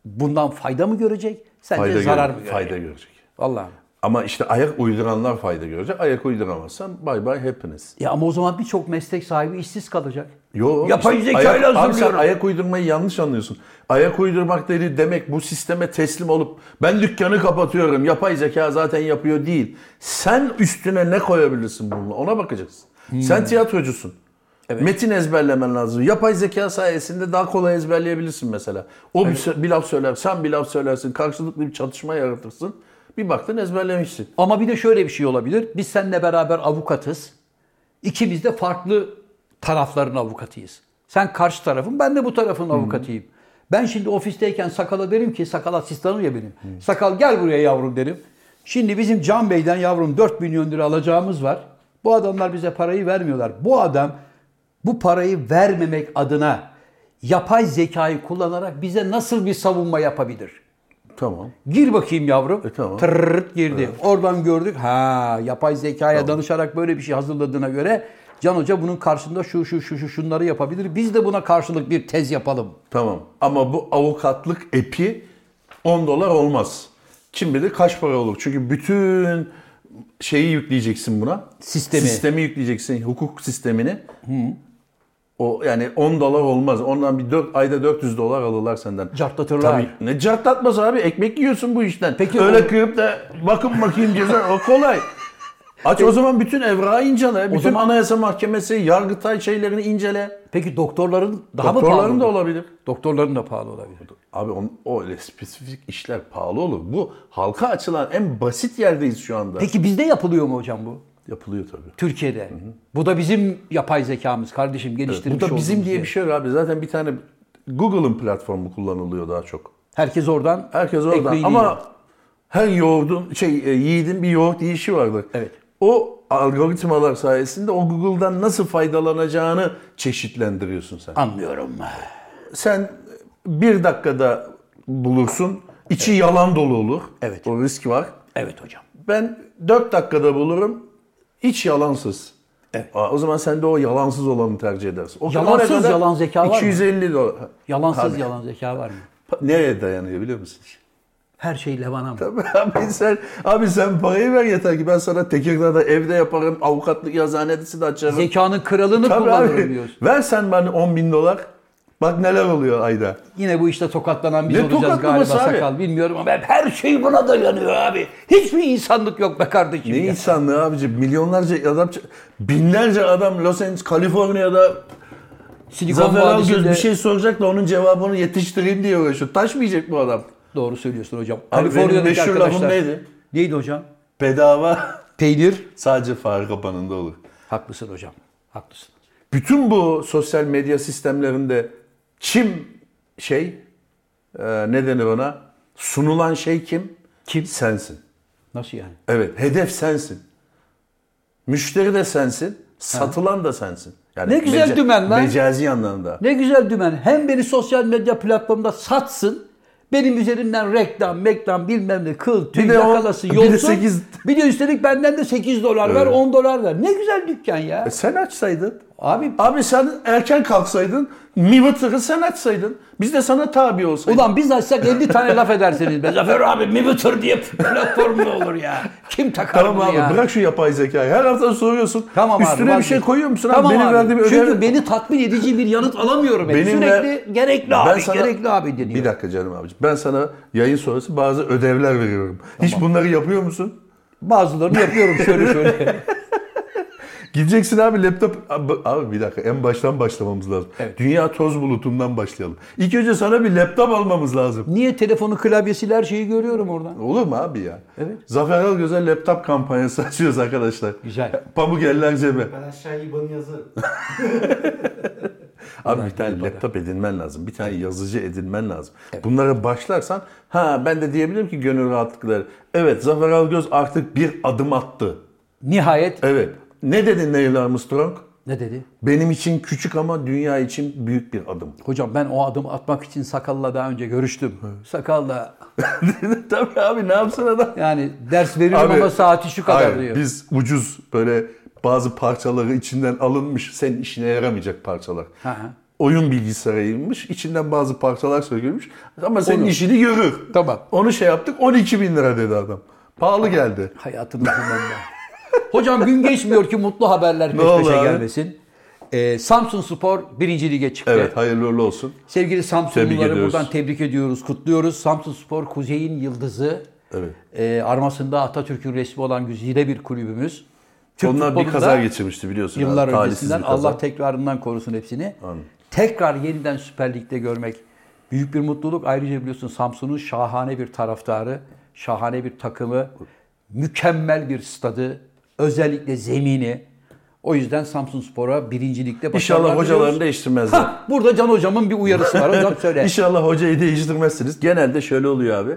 [SPEAKER 1] bundan fayda mı görecek? Sence
[SPEAKER 2] Fayda
[SPEAKER 1] zarar
[SPEAKER 2] gör-
[SPEAKER 1] mı görecek?
[SPEAKER 2] Fayda görecek.
[SPEAKER 1] Vallahi.
[SPEAKER 2] Ama işte ayak uyduranlar fayda görecek. Ayak uyduramazsan bye bye happiness.
[SPEAKER 1] Ya ama o zaman birçok meslek sahibi işsiz kalacak.
[SPEAKER 2] Yo,
[SPEAKER 1] Yapay
[SPEAKER 2] işte
[SPEAKER 1] zekayla
[SPEAKER 2] ayak- Abi sen
[SPEAKER 1] hazırlıyorum.
[SPEAKER 2] ayak uydurmayı yanlış anlıyorsun. Ayak uydurmak dedi demek bu sisteme teslim olup ben dükkanı kapatıyorum. Yapay zeka zaten yapıyor değil. Sen üstüne ne koyabilirsin bununla ona bakacaksın.
[SPEAKER 1] Hmm.
[SPEAKER 2] Sen tiyatrocusun. Metin ezberlemen lazım. Yapay zeka sayesinde daha kolay ezberleyebilirsin mesela. O bir, sö- bir laf söyler, sen bir laf söylersin. Karşılıklı bir çatışma yaratırsın. Bir baktın ezberlemişsin.
[SPEAKER 1] Ama bir de şöyle bir şey olabilir. Biz seninle beraber avukatız. İkimiz de farklı tarafların avukatıyız. Sen karşı tarafın, ben de bu tarafın avukatıyım. Ben şimdi ofisteyken sakala derim ki, sakal asistanım ya benim. Sakal gel buraya yavrum derim. Şimdi bizim Can Bey'den yavrum 4 milyon lira alacağımız var. Bu adamlar bize parayı vermiyorlar. Bu adam bu parayı vermemek adına yapay zekayı kullanarak bize nasıl bir savunma yapabilir?
[SPEAKER 2] Tamam.
[SPEAKER 1] Gir bakayım yavrum.
[SPEAKER 2] E, tamam.
[SPEAKER 1] Tırırt girdi. Oradan gördük. Ha yapay zekaya danışarak böyle bir şey hazırladığına göre Can Hoca bunun karşısında şu şu şu şu şunları yapabilir. Biz de buna karşılık bir tez yapalım.
[SPEAKER 2] Tamam. Ama bu avukatlık epi 10 dolar olmaz. Kim bilir kaç para olur. Çünkü bütün şeyi yükleyeceksin buna.
[SPEAKER 1] Sistemi.
[SPEAKER 2] Sistemi yükleyeceksin. Hukuk sistemini. O yani 10 dolar olmaz. Ondan bir 4 ayda 400 dolar alırlar senden.
[SPEAKER 1] Cartlatırlar.
[SPEAKER 2] Tabii. Ne cartlatmaz abi? Ekmek yiyorsun bu işten.
[SPEAKER 1] Peki
[SPEAKER 2] öyle
[SPEAKER 1] o-
[SPEAKER 2] kıyıp da bakın bakayım ceza o kolay. Aç o zaman bütün evrağı incele. Bütün
[SPEAKER 1] zaman-
[SPEAKER 2] Anayasa Mahkemesi, Yargıtay şeylerini incele.
[SPEAKER 1] Peki doktorların daha mı pahalı?
[SPEAKER 2] Doktorların da
[SPEAKER 1] olur?
[SPEAKER 2] olabilir.
[SPEAKER 1] Doktorların da pahalı olabilir.
[SPEAKER 2] Abi on, o öyle spesifik işler pahalı olur. Bu halka açılan en basit yerdeyiz şu anda.
[SPEAKER 1] Peki bizde yapılıyor mu hocam bu?
[SPEAKER 2] Yapılıyor tabii.
[SPEAKER 1] Türkiye'de. Bu da bizim yapay zekamız kardeşim
[SPEAKER 2] Bu
[SPEAKER 1] geliştirmiş
[SPEAKER 2] da bizim
[SPEAKER 1] olduğumuz
[SPEAKER 2] diye bir şey yok abi. Zaten bir tane Google'ın platformu kullanılıyor daha çok.
[SPEAKER 1] Herkes oradan "Er,
[SPEAKER 2] Herkes oradan
[SPEAKER 1] ekmeğini
[SPEAKER 2] ama
[SPEAKER 1] yiyor.
[SPEAKER 2] her yoğurdun şey e, yiğidin bir yoğurt yiyişi vardır.
[SPEAKER 1] Evet.
[SPEAKER 2] O algoritmalar sayesinde o Google'dan nasıl faydalanacağını çeşitlendiriyorsun sen.
[SPEAKER 1] anlıyorum.
[SPEAKER 2] Sen bir dakikada bulursun. içi yalan dolu olur.
[SPEAKER 1] Evet.
[SPEAKER 2] O risk var.
[SPEAKER 1] Evet hocam.
[SPEAKER 2] Ben 4 dakikada bulurum. Hiç yalansız.
[SPEAKER 1] Evet.
[SPEAKER 2] Aa, o zaman sen de o yalansız olanı tercih edersin. O
[SPEAKER 1] Yalansız
[SPEAKER 2] oraya kadar
[SPEAKER 1] yalan zeka var mı?
[SPEAKER 2] 250 dolar.
[SPEAKER 1] Yalansız
[SPEAKER 2] Abi,
[SPEAKER 1] yalan zeka var mı?
[SPEAKER 2] pa- Nereye dayanıyor biliyor musun?
[SPEAKER 1] Her şey Levan'a mı?
[SPEAKER 2] abi sen abi sen parayı ver yeter ki ben sana Tekirdağ'da evde yaparım. Avukatlık yazanedisi de açarım.
[SPEAKER 1] Zekanın kralını
[SPEAKER 2] Tabii
[SPEAKER 1] kullanırım
[SPEAKER 2] abi.
[SPEAKER 1] diyorsun.
[SPEAKER 2] Ver sen bana 10 bin dolar. Bak neler oluyor ayda.
[SPEAKER 1] Yine bu işte tokatlanan biz
[SPEAKER 2] Ne
[SPEAKER 1] olacağız galiba
[SPEAKER 2] tokatlaması abi?
[SPEAKER 1] sakal. Bilmiyorum ama hep her şey buna dayanıyor abi. Hiçbir insanlık yok be kardeşim
[SPEAKER 2] Ne
[SPEAKER 1] ya.
[SPEAKER 2] insanlığı abici? Milyonlarca adam, binlerce adam Los Angeles, Kaliforniya'da
[SPEAKER 1] Silikon
[SPEAKER 2] Zafer Algöz
[SPEAKER 1] Vadisi'nde-
[SPEAKER 2] bir şey soracak da onun cevabını yetiştireyim diye uğraşıyor. Taşmayacak bu adam.
[SPEAKER 1] Doğru söylüyorsun hocam.
[SPEAKER 2] Abi benim
[SPEAKER 1] Kaliforniya'daki
[SPEAKER 2] meşhur
[SPEAKER 1] arkadaşlar.
[SPEAKER 2] lafım neydi?
[SPEAKER 1] Neydi hocam?
[SPEAKER 2] Bedava
[SPEAKER 1] Peynir.
[SPEAKER 2] sadece fare kapanında olur.
[SPEAKER 1] Haklısın hocam. Haklısın.
[SPEAKER 2] Bütün bu sosyal medya sistemlerinde kim şey, e, ne denir ona? Sunulan şey kim?
[SPEAKER 1] Kim?
[SPEAKER 2] Sensin.
[SPEAKER 1] Nasıl yani?
[SPEAKER 2] Evet, hedef sensin. Müşteri de sensin, satılan da sensin. Yani
[SPEAKER 1] Ne güzel dümen lan.
[SPEAKER 2] Mecazi anlamda.
[SPEAKER 1] Ne güzel dümen. Hem beni sosyal medya platformunda satsın. Benim üzerimden reklam, meklam bilmem ne kıl, tüy
[SPEAKER 2] Bir de o-
[SPEAKER 1] yakalasın,
[SPEAKER 2] bir de
[SPEAKER 1] yolsun.
[SPEAKER 2] sekiz-
[SPEAKER 1] Bir de üstelik benden de 8 dolar ver,
[SPEAKER 2] Evet.
[SPEAKER 1] 10 dolar ver. Ne güzel dükkan ya.
[SPEAKER 2] E sen açsaydın.
[SPEAKER 1] Abi
[SPEAKER 2] Abi sen erken kalksaydın, Mivıtır'ı sen açsaydın. Biz de sana tabi olsaydık.
[SPEAKER 1] Ulan biz açsak 50 tane laf edersiniz. Be. Zafer abi Mimitur diye platform mu olur ya? Kim takar
[SPEAKER 2] Tamam
[SPEAKER 1] bunu
[SPEAKER 2] abi
[SPEAKER 1] ya?
[SPEAKER 2] bırak şu yapay zekayı. Her hafta soruyorsun.
[SPEAKER 1] Tamam abi,
[SPEAKER 2] Üstüne bir şey
[SPEAKER 1] vazgeç.
[SPEAKER 2] koyuyor musun?
[SPEAKER 1] Tamam
[SPEAKER 2] abi, benim
[SPEAKER 1] abi.
[SPEAKER 2] verdiğim
[SPEAKER 1] Çünkü
[SPEAKER 2] ödev...
[SPEAKER 1] beni tatmin edici bir yanıt alamıyorum. Benim
[SPEAKER 2] Benim
[SPEAKER 1] Sürekli
[SPEAKER 2] ver-
[SPEAKER 1] gerekli
[SPEAKER 2] Ben
[SPEAKER 1] abi,
[SPEAKER 2] sana-
[SPEAKER 1] gerekli abi deniyor.
[SPEAKER 2] Bir dakika canım abiciğim. Ben sana yayın sonrası bazı ödevler veriyorum. Hiç bunları yapıyor musun?
[SPEAKER 1] Bazılarını yapıyorum şöyle şöyle.
[SPEAKER 2] Gideceksin abi laptop... Abi, abi bir dakika en baştan başlamamız lazım.
[SPEAKER 1] Evet.
[SPEAKER 2] Dünya toz bulutundan başlayalım. İlk önce sana bir laptop almamız lazım.
[SPEAKER 1] Niye telefonu klavyesiyle her şeyi görüyorum oradan?
[SPEAKER 2] Olur mu abi ya? Evet. Zafer Algöz'e laptop kampanyası açıyoruz arkadaşlar.
[SPEAKER 1] Güzel.
[SPEAKER 2] Pamuk eller cebe.
[SPEAKER 3] Ben aşağı IBAN'ı yazarım.
[SPEAKER 2] Abi bir tane laptop edinmen lazım. Bir tane yazıcı edinmen lazım. Bunlara başlarsan ha ben de diyebilirim ki gönül rahatlıkları. Evet Zafer Algöz artık bir adım attı.
[SPEAKER 1] Nihayet
[SPEAKER 2] Evet. Ne dedi Neil Armstrong?
[SPEAKER 1] ne dedi?
[SPEAKER 2] Benim için küçük ama dünya için büyük bir adım.
[SPEAKER 1] Hocam ben o adımı atmak için Sakal'la daha önce görüştüm. Sakalla
[SPEAKER 2] Tabii abi ne yapsın adam?
[SPEAKER 1] yani ders veriyorum
[SPEAKER 2] Abi,
[SPEAKER 1] ama saati şu kadar
[SPEAKER 2] hayır,
[SPEAKER 1] diyor.
[SPEAKER 2] Biz ucuz böyle bazı parçaları içinden alınmış, senin işine yaramayacak parçalar.
[SPEAKER 1] Hı hı.
[SPEAKER 2] Oyun bilgisayarıymış, içinden bazı parçalar sökülmüş ama senin
[SPEAKER 1] Onu-
[SPEAKER 2] işini görür.
[SPEAKER 1] Tamam.
[SPEAKER 2] Onu şey yaptık, 12 bin lira dedi adam. Pahalı geldi.
[SPEAKER 1] Hayatını kullanma. Hocam gün geçmiyor ki mutlu haberler peş
[SPEAKER 2] oldu
[SPEAKER 1] peşe
[SPEAKER 2] abi?
[SPEAKER 1] gelmesin. Ee, Samsun Spor birinci lige çıktı.
[SPEAKER 2] Evet, hayırlı uğurlu olsun.
[SPEAKER 1] Sevgili
[SPEAKER 2] Tebrik
[SPEAKER 1] Samsunluları
[SPEAKER 2] ediyoruz.
[SPEAKER 1] buradan tebrik ediyoruz, kutluyoruz. Samsun Spor Kuzey'in yıldızı.
[SPEAKER 2] Evet.
[SPEAKER 1] Ee, armasında Atatürk'ün resmi olan güzide bir kulübümüz. Türk
[SPEAKER 2] Onlar bir
[SPEAKER 1] futbolunda
[SPEAKER 2] kaza geçirmişti biliyorsun.
[SPEAKER 1] Yıllar
[SPEAKER 2] abi, talihsiz
[SPEAKER 1] öncesinden
[SPEAKER 2] bir kaza.
[SPEAKER 1] Allah tekrarından korusun hepsini.
[SPEAKER 2] Amin.
[SPEAKER 1] Tekrar yeniden Süper Lig'de görmek büyük bir mutluluk. Ayrıca biliyorsun Samsun'un şahane bir taraftarı, şahane bir takımı, mükemmel bir stadı, özellikle zemini. O yüzden Samsun Spor'a birincilikte başarılar
[SPEAKER 2] İnşallah hocalarını
[SPEAKER 1] diliyoruz.
[SPEAKER 2] değiştirmezler.
[SPEAKER 1] Ha, burada Can Hocam'ın bir şey- uyarısı var. Hocam söyle.
[SPEAKER 2] İnşallah hocayı değiştirmezsiniz. Genelde şöyle oluyor abi.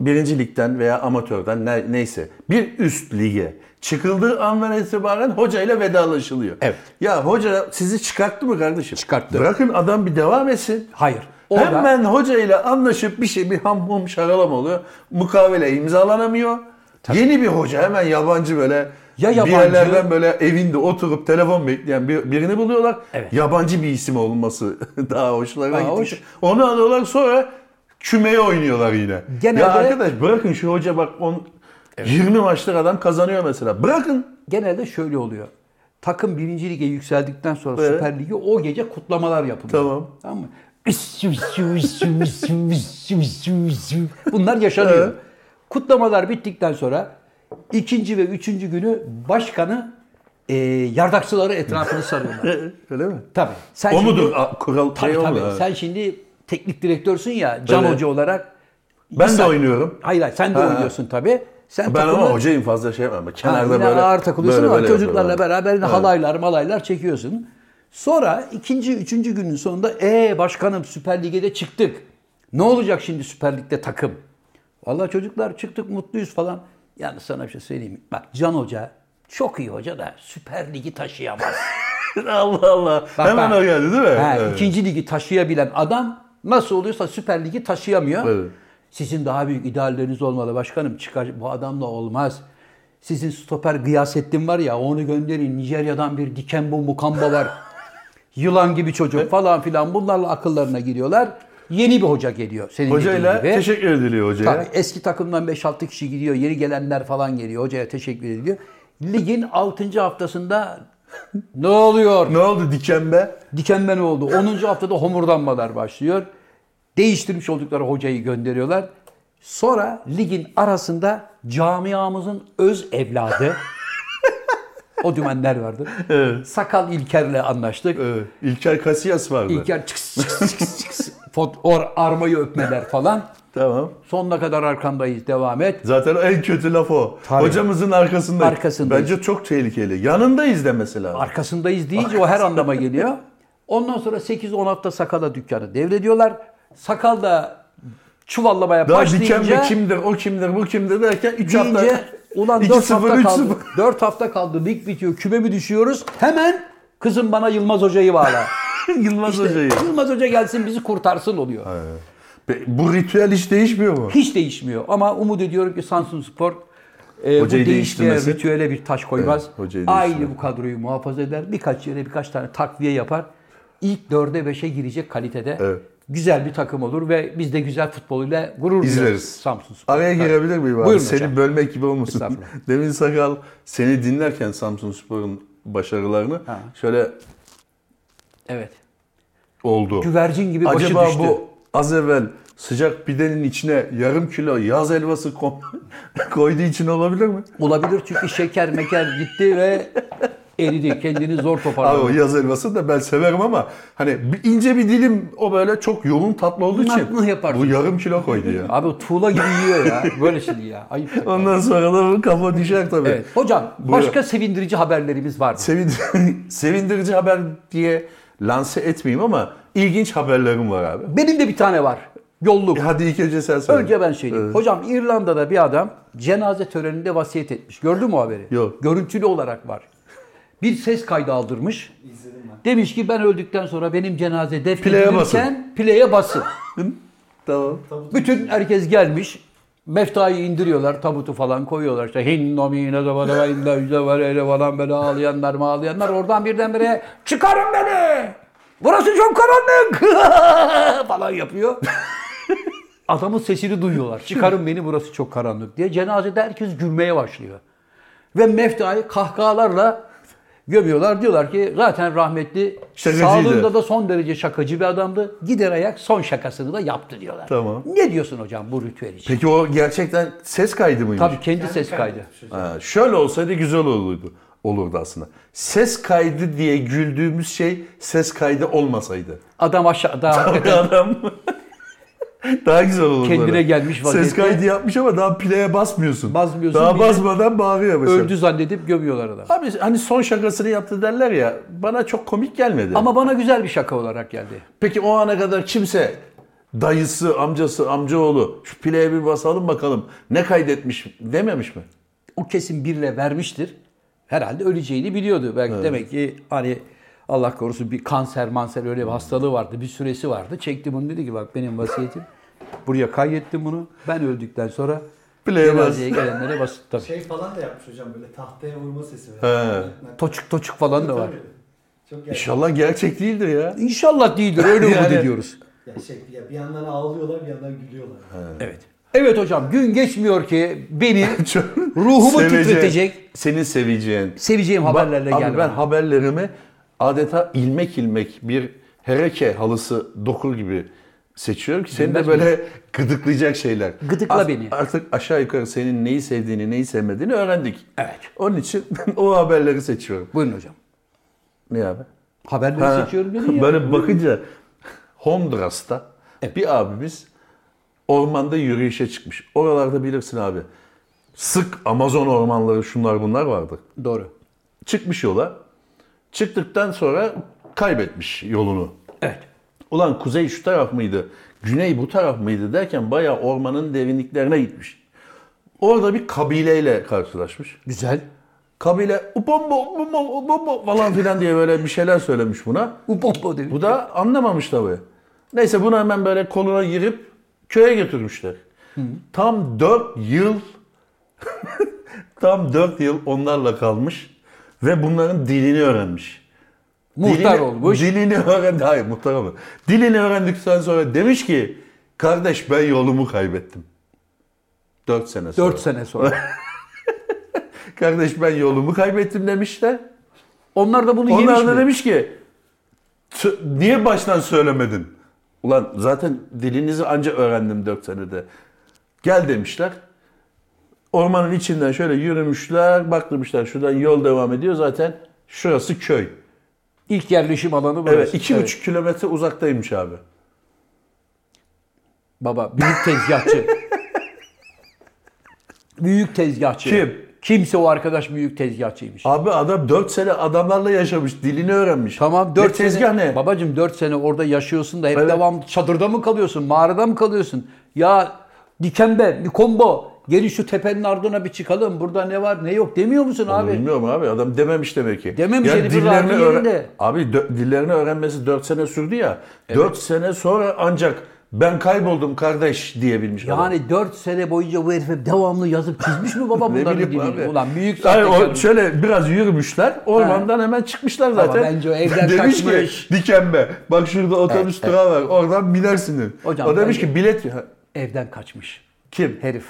[SPEAKER 2] Birinci ligden veya amatörden ne- neyse bir üst lige çıkıldığı andan itibaren hocayla vedalaşılıyor.
[SPEAKER 1] Evet.
[SPEAKER 2] Ya hoca sizi çıkarttı mı kardeşim?
[SPEAKER 1] Çıkarttı.
[SPEAKER 2] Bırakın adam bir devam etsin.
[SPEAKER 1] Hayır. Orada-
[SPEAKER 2] Hemen hocayla anlaşıp bir şey bir ham hum şaralam oluyor. Mukavele imzalanamıyor. Yeni bir hoca hemen yabancı böyle
[SPEAKER 1] Ya
[SPEAKER 2] ya
[SPEAKER 1] yabancı-
[SPEAKER 2] bir yerlerden böyle evinde oturup telefon bekleyen bir- birini buluyorlar.
[SPEAKER 1] Evet.
[SPEAKER 2] Yabancı bir isim olması daha hoşlarına
[SPEAKER 1] Aa,
[SPEAKER 2] Aa,
[SPEAKER 1] hoş.
[SPEAKER 2] Onu alıyorlar sonra kümeye oynuyorlar yine.
[SPEAKER 1] Genelde-
[SPEAKER 2] Ya arkadaş bırakın şu hoca bak on, 20 maçlık adam kazanıyor mesela. Bırakın.
[SPEAKER 1] Genelde şöyle oluyor. Takım birinci lige yükseldikten sonra
[SPEAKER 2] Evet.
[SPEAKER 1] Süper Lig'e o gece kutlamalar yapılıyor.
[SPEAKER 2] Tamam.
[SPEAKER 1] Tamam mı? Üssü, üssü, üssü, üssü, üssü, üssü, üssü. Bunlar yaşanıyor.
[SPEAKER 2] Evet.
[SPEAKER 1] Kutlamalar bittikten sonra ikinci ve üçüncü günü başkanı e, yardakçıları etrafını sarıyorlar.
[SPEAKER 2] Öyle mi?
[SPEAKER 1] Tabii. Sen
[SPEAKER 2] o
[SPEAKER 1] şimdi-
[SPEAKER 2] mudur a- kural?
[SPEAKER 1] Tabii
[SPEAKER 2] şey
[SPEAKER 1] tabii.
[SPEAKER 2] oldu, evet.
[SPEAKER 1] Sen şimdi teknik direktörsün ya Can
[SPEAKER 2] Evet.
[SPEAKER 1] Hoca olarak.
[SPEAKER 2] Ben de
[SPEAKER 1] Sen-
[SPEAKER 2] oynuyorum.
[SPEAKER 1] Hayır hayır sen de
[SPEAKER 2] Ha.
[SPEAKER 1] oynuyorsun tabii. Sen
[SPEAKER 2] Ben
[SPEAKER 1] takımı-
[SPEAKER 2] ama hocayım fazla şey yapmam.
[SPEAKER 1] E, Ha,
[SPEAKER 2] Kenarda
[SPEAKER 1] yine
[SPEAKER 2] böyle
[SPEAKER 1] ağır takılıyorsun
[SPEAKER 2] böyle-
[SPEAKER 1] ama
[SPEAKER 2] böyle
[SPEAKER 1] çocuklarla
[SPEAKER 2] yapıyorum.
[SPEAKER 1] beraber yine halaylar malaylar çekiyorsun. Sonra ikinci, üçüncü günün sonunda e başkanım Süper Lig'e de çıktık. Ne olacak şimdi Süper Lig'de takım? Vallahi çocuklar çıktık mutluyuz falan. Yalnız sana bir şey söyleyeyim. mi? Bak Can Hoca çok iyi hoca da Süper Lig'i taşıyamaz.
[SPEAKER 2] Allah Allah.
[SPEAKER 1] Bak,
[SPEAKER 2] Hemen
[SPEAKER 1] bak.
[SPEAKER 2] o geldi değil mi?
[SPEAKER 1] Ha,
[SPEAKER 2] Evet.
[SPEAKER 1] İkinci ligi taşıyabilen adam nasıl oluyorsa Süper Ligi taşıyamıyor.
[SPEAKER 2] Evet.
[SPEAKER 1] Sizin daha büyük idealleriniz olmalı başkanım. Çıkar, bu adamla olmaz. Sizin stoper Gıyasettin var ya onu gönderin. Nijerya'dan bir Dikembo Mukamba var. Yılan gibi çocuk falan filan bunlarla akıllarına giriyorlar. Yeni bir hoca geliyor senin
[SPEAKER 2] Hocayla
[SPEAKER 1] dediğin gibi.
[SPEAKER 2] teşekkür ediliyor hocaya.
[SPEAKER 1] Tabii eski takımdan 5-6 kişi gidiyor. Yeni gelenler falan geliyor. Hocaya teşekkür ediliyor. Ligin 6. haftasında ne oluyor?
[SPEAKER 2] Ne oldu dikembe?
[SPEAKER 1] dikenmen oldu. 10. haftada homurdanmalar başlıyor. Değiştirmiş oldukları hocayı gönderiyorlar. Sonra ligin arasında camiamızın öz evladı o dümenler vardı. Sakal İlker'le anlaştık.
[SPEAKER 2] Evet. e, İlker Casillas vardı.
[SPEAKER 1] İlker çıks çıks çıks çıks fot- or armayı öpmeler falan.
[SPEAKER 2] Tamam.
[SPEAKER 1] Sonuna kadar arkandayız devam et.
[SPEAKER 2] Zaten en kötü laf o.
[SPEAKER 1] Tabii.
[SPEAKER 2] Hocamızın arkasındayız.
[SPEAKER 1] Arkasındayız.
[SPEAKER 2] Bence çok tehlikeli. Yanındayız de mesela.
[SPEAKER 1] Arkasındayız deyince o her anlama geliyor. Ondan sonra 8-10 hafta sakala dükkanı devrediyorlar. Sakal da çuvallamaya
[SPEAKER 2] Daha
[SPEAKER 1] başlayınca...
[SPEAKER 2] dikembe kimdir, o kimdir, bu kimdir derken 3 hafta.
[SPEAKER 1] deyince ulan
[SPEAKER 2] 2-0,
[SPEAKER 1] 4 hafta
[SPEAKER 2] 3-0.
[SPEAKER 1] kaldı. 4 hafta kaldı. Lig bitiyor. Küme mi düşüyoruz? Hemen kızım bana Yılmaz Hoca'yı bağla.
[SPEAKER 2] Yılmaz Hoca'yı.
[SPEAKER 1] Yılmaz Hoca gelsin bizi kurtarsın oluyor.
[SPEAKER 2] Pe- Bu ritüel hiç değişmiyor mu?
[SPEAKER 1] Hiç değişmiyor. Ama umut ediyorum ki Samsun Spor e, bu
[SPEAKER 2] Hocayı
[SPEAKER 1] değişmeye,
[SPEAKER 2] değiştirmesi-
[SPEAKER 1] ritüele bir taş koymaz.
[SPEAKER 2] Evet, hocayı
[SPEAKER 1] Aynı
[SPEAKER 2] değiştirmez.
[SPEAKER 1] bu kadroyu muhafaza eder. Birkaç yere birkaç tane takviye yapar. İlk 4'e 5'e girecek kalitede
[SPEAKER 2] Evet.
[SPEAKER 1] güzel bir takım olur ve biz de güzel futboluyla gurur duyarız
[SPEAKER 2] İzleriz.
[SPEAKER 1] Samsun Spor.
[SPEAKER 2] Araya girebilir miyim abi?
[SPEAKER 1] Buyurun
[SPEAKER 2] seni
[SPEAKER 1] hocam.
[SPEAKER 2] bölmek gibi olmasın.
[SPEAKER 1] Estağfurullah.
[SPEAKER 2] Demin Sakal seni dinlerken Samsun Spor'un başarılarını
[SPEAKER 1] Ha.
[SPEAKER 2] şöyle
[SPEAKER 1] Evet.
[SPEAKER 2] oldu.
[SPEAKER 1] Güvercin gibi başı
[SPEAKER 2] Acaba
[SPEAKER 1] düştü.
[SPEAKER 2] bu az evvel sıcak pidenin içine yarım kilo yaz helvası ko- koyduğu için olabilir mi?
[SPEAKER 1] Olabilir çünkü şeker meker gitti ve eridi. Kendini zor
[SPEAKER 2] Abi o
[SPEAKER 1] toparladı.
[SPEAKER 2] yaz helvası da ben severim ama hani bir- ince bir dilim o böyle çok yoğun tatlı olduğu için
[SPEAKER 1] Mıh yaparsın.
[SPEAKER 2] bu yarım kilo koydu ya.
[SPEAKER 1] Abi o tuğla gibi yiyor ya. Böyle şimdi ya. Ayıp.
[SPEAKER 2] Ondan sonra da bu kafa düşer tabii.
[SPEAKER 1] Evet. Hocam
[SPEAKER 2] Buyurun.
[SPEAKER 1] başka sevindirici haberlerimiz var mı?
[SPEAKER 2] Sevin- sevindirici haber diye lanse etmeyeyim ama ilginç haberlerim var abi.
[SPEAKER 1] Benim de bir tane var. Yolluk.
[SPEAKER 2] E Hadi ilk önce sen söyle.
[SPEAKER 1] Önce ben söyleyeyim. Hocam İrlanda'da bir adam cenaze töreninde vasiyet etmiş. Gördün mü o haberi?
[SPEAKER 2] Yok.
[SPEAKER 1] Görüntülü olarak var. Bir ses kaydı aldırmış.
[SPEAKER 3] İzledim ben.
[SPEAKER 1] Demiş ki ben öldükten sonra benim cenaze
[SPEAKER 2] Play'e
[SPEAKER 1] defnedilirken play'e basın.
[SPEAKER 2] Tamam.
[SPEAKER 1] Bütün herkes gelmiş. Meftayı indiriyorlar, tabutu falan koyuyorlar. İşte hinno mine zavada inda yüze vareyle falan böyle ağlayanlar mağlayanlar. Oradan birdenbire çıkarın beni! Burası çok karanlık! falan yapıyor. Adamın sesini duyuyorlar. Çıkarın beni burası çok karanlık diye. Cenazede herkes gülmeye başlıyor. Ve meftayı kahkahalarla gömüyorlar. Diyorlar ki zaten rahmetli
[SPEAKER 2] Şakacıydı.
[SPEAKER 1] sağlığında da son derece şakacı bir adamdı. Gider ayak son şakasını da yaptı diyorlar.
[SPEAKER 2] Tamam.
[SPEAKER 1] Ne diyorsun hocam bu ritüel için?
[SPEAKER 2] Peki o gerçekten ses kaydı mıymış?
[SPEAKER 1] Tabii kendi ses kaydı.
[SPEAKER 2] Ha, şöyle olsaydı güzel olurdu. Olurdu aslında. Ses kaydı diye güldüğümüz şey ses kaydı olmasaydı.
[SPEAKER 1] Adam aşağıda hakikaten
[SPEAKER 2] Adam Daha güzel olur.
[SPEAKER 1] Kendine
[SPEAKER 2] böyle.
[SPEAKER 1] gelmiş
[SPEAKER 2] Ses
[SPEAKER 1] vaziyette.
[SPEAKER 2] kaydı yapmış ama daha play'e basmıyorsun.
[SPEAKER 1] Basmıyorsun,
[SPEAKER 2] Daha
[SPEAKER 1] bir de
[SPEAKER 2] basmadan bağırıyor mesela.
[SPEAKER 1] Öldü zannedip gömüyorlar adam.
[SPEAKER 2] Abi hani son şakasını yaptı derler ya bana çok komik gelmedi.
[SPEAKER 1] Ama bana güzel bir şaka olarak geldi.
[SPEAKER 2] Peki o ana kadar kimse dayısı, amcası, amcaoğlu şu play'e bir basalım bakalım ne kaydetmiş dememiş mi?
[SPEAKER 1] O kesin birle vermiştir. Herhalde öleceğini biliyordu. Belki demek ki hani Allah korusun bir kanser manser öyle bir hastalığı vardı. Bir süresi vardı. Çekti bunu dedi ki bak benim vasiyetim. Buraya kaydettim bunu. Ben öldükten sonra
[SPEAKER 2] Play'e bas.
[SPEAKER 1] cenazeye gelenlere basıp tabii.
[SPEAKER 3] Şey falan da yapmış hocam böyle tahtaya vurma sesi.
[SPEAKER 2] He.
[SPEAKER 1] Toçuk toçuk falan da var.
[SPEAKER 3] Tabii. Çok gerçek.
[SPEAKER 2] İnşallah gerçek değildir ya.
[SPEAKER 1] İnşallah değildir. Öyle umut
[SPEAKER 2] Yani-
[SPEAKER 1] ediyoruz.
[SPEAKER 3] Ya şey, ya bir yandan ağlıyorlar bir yandan gülüyorlar.
[SPEAKER 1] Evet. Evet hocam gün geçmiyor ki beni
[SPEAKER 2] Çok
[SPEAKER 1] ruhumu
[SPEAKER 2] seveceğin-
[SPEAKER 1] titretecek
[SPEAKER 2] Senin seveceğin.
[SPEAKER 1] seveceğim haberlerle
[SPEAKER 2] Ba- abi
[SPEAKER 1] geldi.
[SPEAKER 2] ben haberlerimi adeta ilmek ilmek bir hereke halısı dokur gibi seçiyorum ki seni de böyle gıdıklayacak şeyler.
[SPEAKER 1] Gıdıkla beni.
[SPEAKER 2] Artık aşağı yukarı senin neyi sevdiğini, neyi sevmediğini öğrendik.
[SPEAKER 1] Evet.
[SPEAKER 2] Onun için o haberleri seçiyorum.
[SPEAKER 1] Buyurun hocam.
[SPEAKER 2] Ne abi?
[SPEAKER 1] Haberleri
[SPEAKER 2] Ha,
[SPEAKER 1] seçiyorum dedin ya.
[SPEAKER 2] Böyle bakınca Honduras'ta bir abimiz ormanda yürüyüşe çıkmış. Oralarda bilirsin abi. Sık Amazon ormanları şunlar bunlar vardı.
[SPEAKER 1] Doğru.
[SPEAKER 2] Çıkmış yola. Çıktıktan sonra kaybetmiş yolunu.
[SPEAKER 1] Evet.
[SPEAKER 2] Ulan kuzey şu taraf mıydı, güney bu taraf mıydı derken bayağı ormanın derinliklerine gitmiş. Orada bir kabileyle karşılaşmış.
[SPEAKER 1] Güzel.
[SPEAKER 2] Kabile upombo upombo upombo falan filan diye böyle bir şeyler söylemiş buna.
[SPEAKER 1] Upoppo demiş.
[SPEAKER 2] Bu da anlamamış tabii. Neyse bunu hemen böyle koluna girip köye götürmüşler. Tam 4 yıl tam 4 yıl onlarla kalmış ve bunların dilini öğrenmiş.
[SPEAKER 1] Muhtar
[SPEAKER 2] Dilini-
[SPEAKER 1] olmuş.
[SPEAKER 2] Dilini öğrendi. Hayır muhtar olmadı. Dilini öğrendikten sonra demiş ki kardeş ben yolumu kaybettim. 4 sene sonra.
[SPEAKER 1] 4 sene sonra.
[SPEAKER 2] Kardeş ben yolumu kaybettim demişler.
[SPEAKER 1] Onlar da bunu yemiş
[SPEAKER 2] Onlar da
[SPEAKER 1] mi?
[SPEAKER 2] demiş ki "T- niye baştan söylemedin? Ulan zaten dilinizi anca öğrendim 4 senede. Gel demişler. Ormanın içinden şöyle yürümüşler, bak demişler şuradan yol devam ediyor zaten şurası köy.
[SPEAKER 1] İlk yerleşim alanı burası.
[SPEAKER 2] Evet, iki buçuk kilometre uzaktaymış abi.
[SPEAKER 1] Baba büyük tezgahçı. büyük tezgahçı.
[SPEAKER 2] Kim?
[SPEAKER 1] Kimse o arkadaş büyük tezgahçıymış.
[SPEAKER 2] Abi adam 4 sene adamlarla yaşamış, dilini öğrenmiş.
[SPEAKER 1] Tamam
[SPEAKER 2] dört
[SPEAKER 1] 4
[SPEAKER 2] ne tezgah
[SPEAKER 1] sene,
[SPEAKER 2] ne?
[SPEAKER 1] Babacım 4 sene orada yaşıyorsun da hep
[SPEAKER 2] Evet.
[SPEAKER 1] devam çadırda mı kalıyorsun, mağarada mı kalıyorsun? Ya dikembe, bir kombo. Gelin şu tepenin ardına bir çıkalım. Burada ne var ne yok demiyor musun
[SPEAKER 2] Onu
[SPEAKER 1] abi?
[SPEAKER 2] Bilmiyorum abi adam dememiş demek ki.
[SPEAKER 1] Dememiş, herifin rahatı
[SPEAKER 2] öğren-
[SPEAKER 1] yerinde.
[SPEAKER 2] Abi dö- dillerini öğrenmesi 4 sene sürdü ya. 4 sene sonra ancak ben kayboldum kardeş diyebilmiş. adam.
[SPEAKER 1] Yani 4 sene boyunca bu herife devamlı yazıp çizmiş mi baba
[SPEAKER 2] ne
[SPEAKER 1] bunların
[SPEAKER 2] bileyim
[SPEAKER 1] dilini?
[SPEAKER 2] abi.
[SPEAKER 1] Ulan büyük
[SPEAKER 2] Hayır, o
[SPEAKER 1] sahtekarım.
[SPEAKER 2] şöyle biraz yürümüşler. Ormandan hemen çıkmışlar zaten.
[SPEAKER 1] bence o evden
[SPEAKER 2] demiş
[SPEAKER 1] kaçmış.
[SPEAKER 2] ki dikenme. Bak şurada otobüs durağı var. Oradan binersiniz.
[SPEAKER 1] Hocam,
[SPEAKER 2] o demiş
[SPEAKER 1] bence-
[SPEAKER 2] ki bilet Ha,
[SPEAKER 1] Evden kaçmış
[SPEAKER 2] kim?
[SPEAKER 1] herif.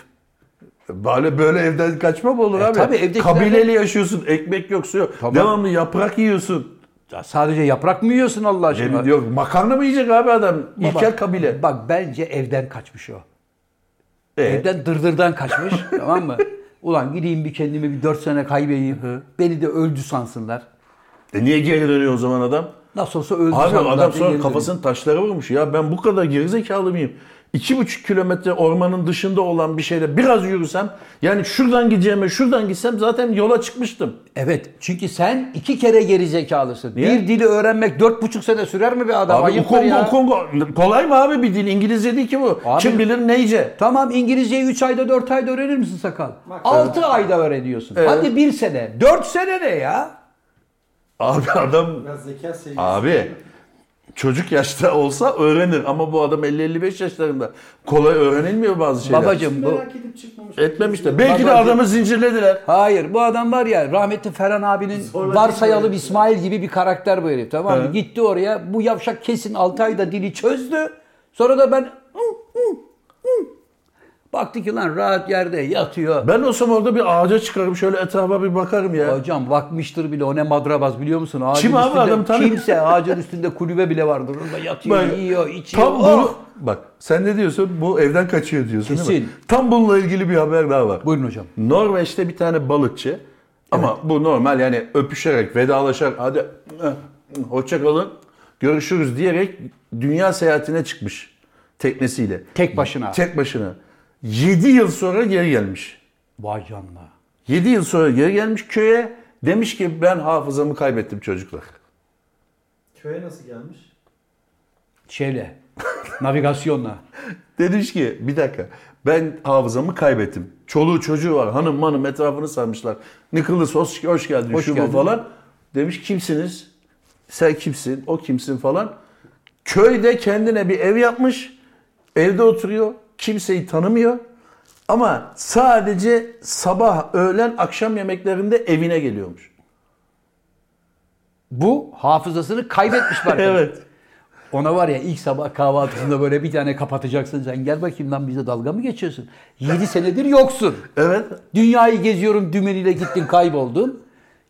[SPEAKER 2] Böyle böyle evden kaçma mı olur abi?
[SPEAKER 1] E, tabii evdekilerle-
[SPEAKER 2] Kabileli yaşıyorsun. Ekmek yok, su yok.
[SPEAKER 1] Tamam.
[SPEAKER 2] Devamlı yaprak yiyorsun.
[SPEAKER 1] Ya sadece yaprak mı yiyorsun Allah aşkına?
[SPEAKER 2] Cemil yok makarna mı yiyecek abi adam? İlkel kabile.
[SPEAKER 1] Bak bence evden kaçmış o. e,
[SPEAKER 2] Ee,
[SPEAKER 1] Evden dırdırdan kaçmış tamam mı? Ulan gideyim bir kendimi bir 4 sene kaybedeyim. Beni de öldü sansınlar.
[SPEAKER 2] e niye geri dönüyor o zaman adam?
[SPEAKER 1] Nasıl olsa öldü
[SPEAKER 2] Abi
[SPEAKER 1] sandılar.
[SPEAKER 2] adam
[SPEAKER 1] diye
[SPEAKER 2] sonra
[SPEAKER 1] geri
[SPEAKER 2] kafasını taşlara vurmuş. Ya ben bu kadar gerizekalı mıyım? İki buçuk kilometre ormanın dışında olan bir şeyde biraz yürüsem yani şuradan gideceğime şuradan gitsem zaten yola çıkmıştım.
[SPEAKER 1] dönüyor. Evet çünkü sen iki kere geri zekalısın.
[SPEAKER 2] Niye?
[SPEAKER 1] Bir dili öğrenmek dört buçuk sene sürer mi bir adam?
[SPEAKER 2] Abi
[SPEAKER 1] Ayıptır
[SPEAKER 2] Kongo,
[SPEAKER 1] ya.
[SPEAKER 2] Kongo kolay mı abi bir dil? İngilizce değil ki bu.
[SPEAKER 1] Abi-
[SPEAKER 2] Kim bilir neyce.
[SPEAKER 1] Tamam İngilizceyi 3 ayda 4 ayda öğrenir misin sakal?
[SPEAKER 3] Bak-
[SPEAKER 1] 6 ayda öğreniyorsun.
[SPEAKER 2] Evet.
[SPEAKER 1] Hadi 1 sene. 4 sene ne ya?
[SPEAKER 2] Abi adam
[SPEAKER 3] Biraz zeka sevgisi.
[SPEAKER 2] Abi çocuk yaşta olsa öğrenir ama bu adam 50-55 yaşlarında kolay öğrenilmiyor bazı şeyler.
[SPEAKER 1] Babacım bu
[SPEAKER 3] Merak edip çıkmamış.
[SPEAKER 2] Etmemiş de. Belki de
[SPEAKER 1] Babacım-
[SPEAKER 2] adamı zincirlediler.
[SPEAKER 1] Hayır bu adam var ya rahmetli Ferhan abinin
[SPEAKER 3] Sonra
[SPEAKER 1] varsayalım
[SPEAKER 3] değil mi?
[SPEAKER 1] İsmail gibi bir karakter bu herif tamam mı?
[SPEAKER 2] He.
[SPEAKER 1] Gitti oraya bu yavşak kesin 6 ayda dili çözdü. Sonra da ben "Hı, hı, hı." baktı ki lan rahat yerde yatıyor.
[SPEAKER 2] Ben olsam orada bir ağaca çıkarım şöyle etrafa bir bakarım ya.
[SPEAKER 1] Hocam bakmıştır bile o ne madrabaz biliyor musun? Ağacın
[SPEAKER 2] Kim abi
[SPEAKER 1] üstünde,
[SPEAKER 2] adam tanı-
[SPEAKER 1] Kimse ağacın üstünde kulübe bile vardır. Orada yatıyor,
[SPEAKER 2] Bak,
[SPEAKER 1] yiyor, içiyor.
[SPEAKER 2] Tam
[SPEAKER 1] Oh!
[SPEAKER 2] bunu bak sen ne diyorsun? Bu evden kaçıyor diyorsun değil mi?
[SPEAKER 1] Kesin.
[SPEAKER 2] Tam bununla ilgili bir haber daha var.
[SPEAKER 1] Buyurun hocam.
[SPEAKER 2] Norveç'te bir tane balıkçı ama bu normal yani öpüşerek, vedalaşarak hadi eh, hoşça kalın görüşürüz diyerek dünya seyahatine çıkmış. teknesiyle.
[SPEAKER 1] Tek başına.
[SPEAKER 2] Tek başına. 7 yıl sonra geri gelmiş.
[SPEAKER 1] Vay canına.
[SPEAKER 2] 7 yıl sonra geri gelmiş köye. Demiş ki ben hafızamı kaybettim çocuklar.
[SPEAKER 3] Köye nasıl gelmiş?
[SPEAKER 1] Şeyle. navigasyonla.
[SPEAKER 2] Demiş ki bir dakika ben hafızamı kaybettim. Çoluğu çocuğu var hanım manım etrafını sarmışlar. Nicholas hoş, hoş geldin
[SPEAKER 1] Hoş
[SPEAKER 2] şu bu
[SPEAKER 1] geldin.
[SPEAKER 2] falan. Demiş kimsiniz? Sen kimsin? O kimsin falan. Köyde kendine bir ev yapmış. Evde oturuyor. Kimseyi tanımıyor. Ama sadece sabah, öğlen, akşam yemeklerinde evine geliyormuş.
[SPEAKER 1] Bu hafızasını kaybetmiş var.
[SPEAKER 2] Evet.
[SPEAKER 1] Ona var ya ilk sabah kahvaltısında böyle bir tane kapatacaksın sen gel bakayım lan bize dalga mı geçiyorsun? 7 senedir yoksun.
[SPEAKER 2] Evet.
[SPEAKER 1] Dünyayı geziyorum dümeniyle gittin kayboldun.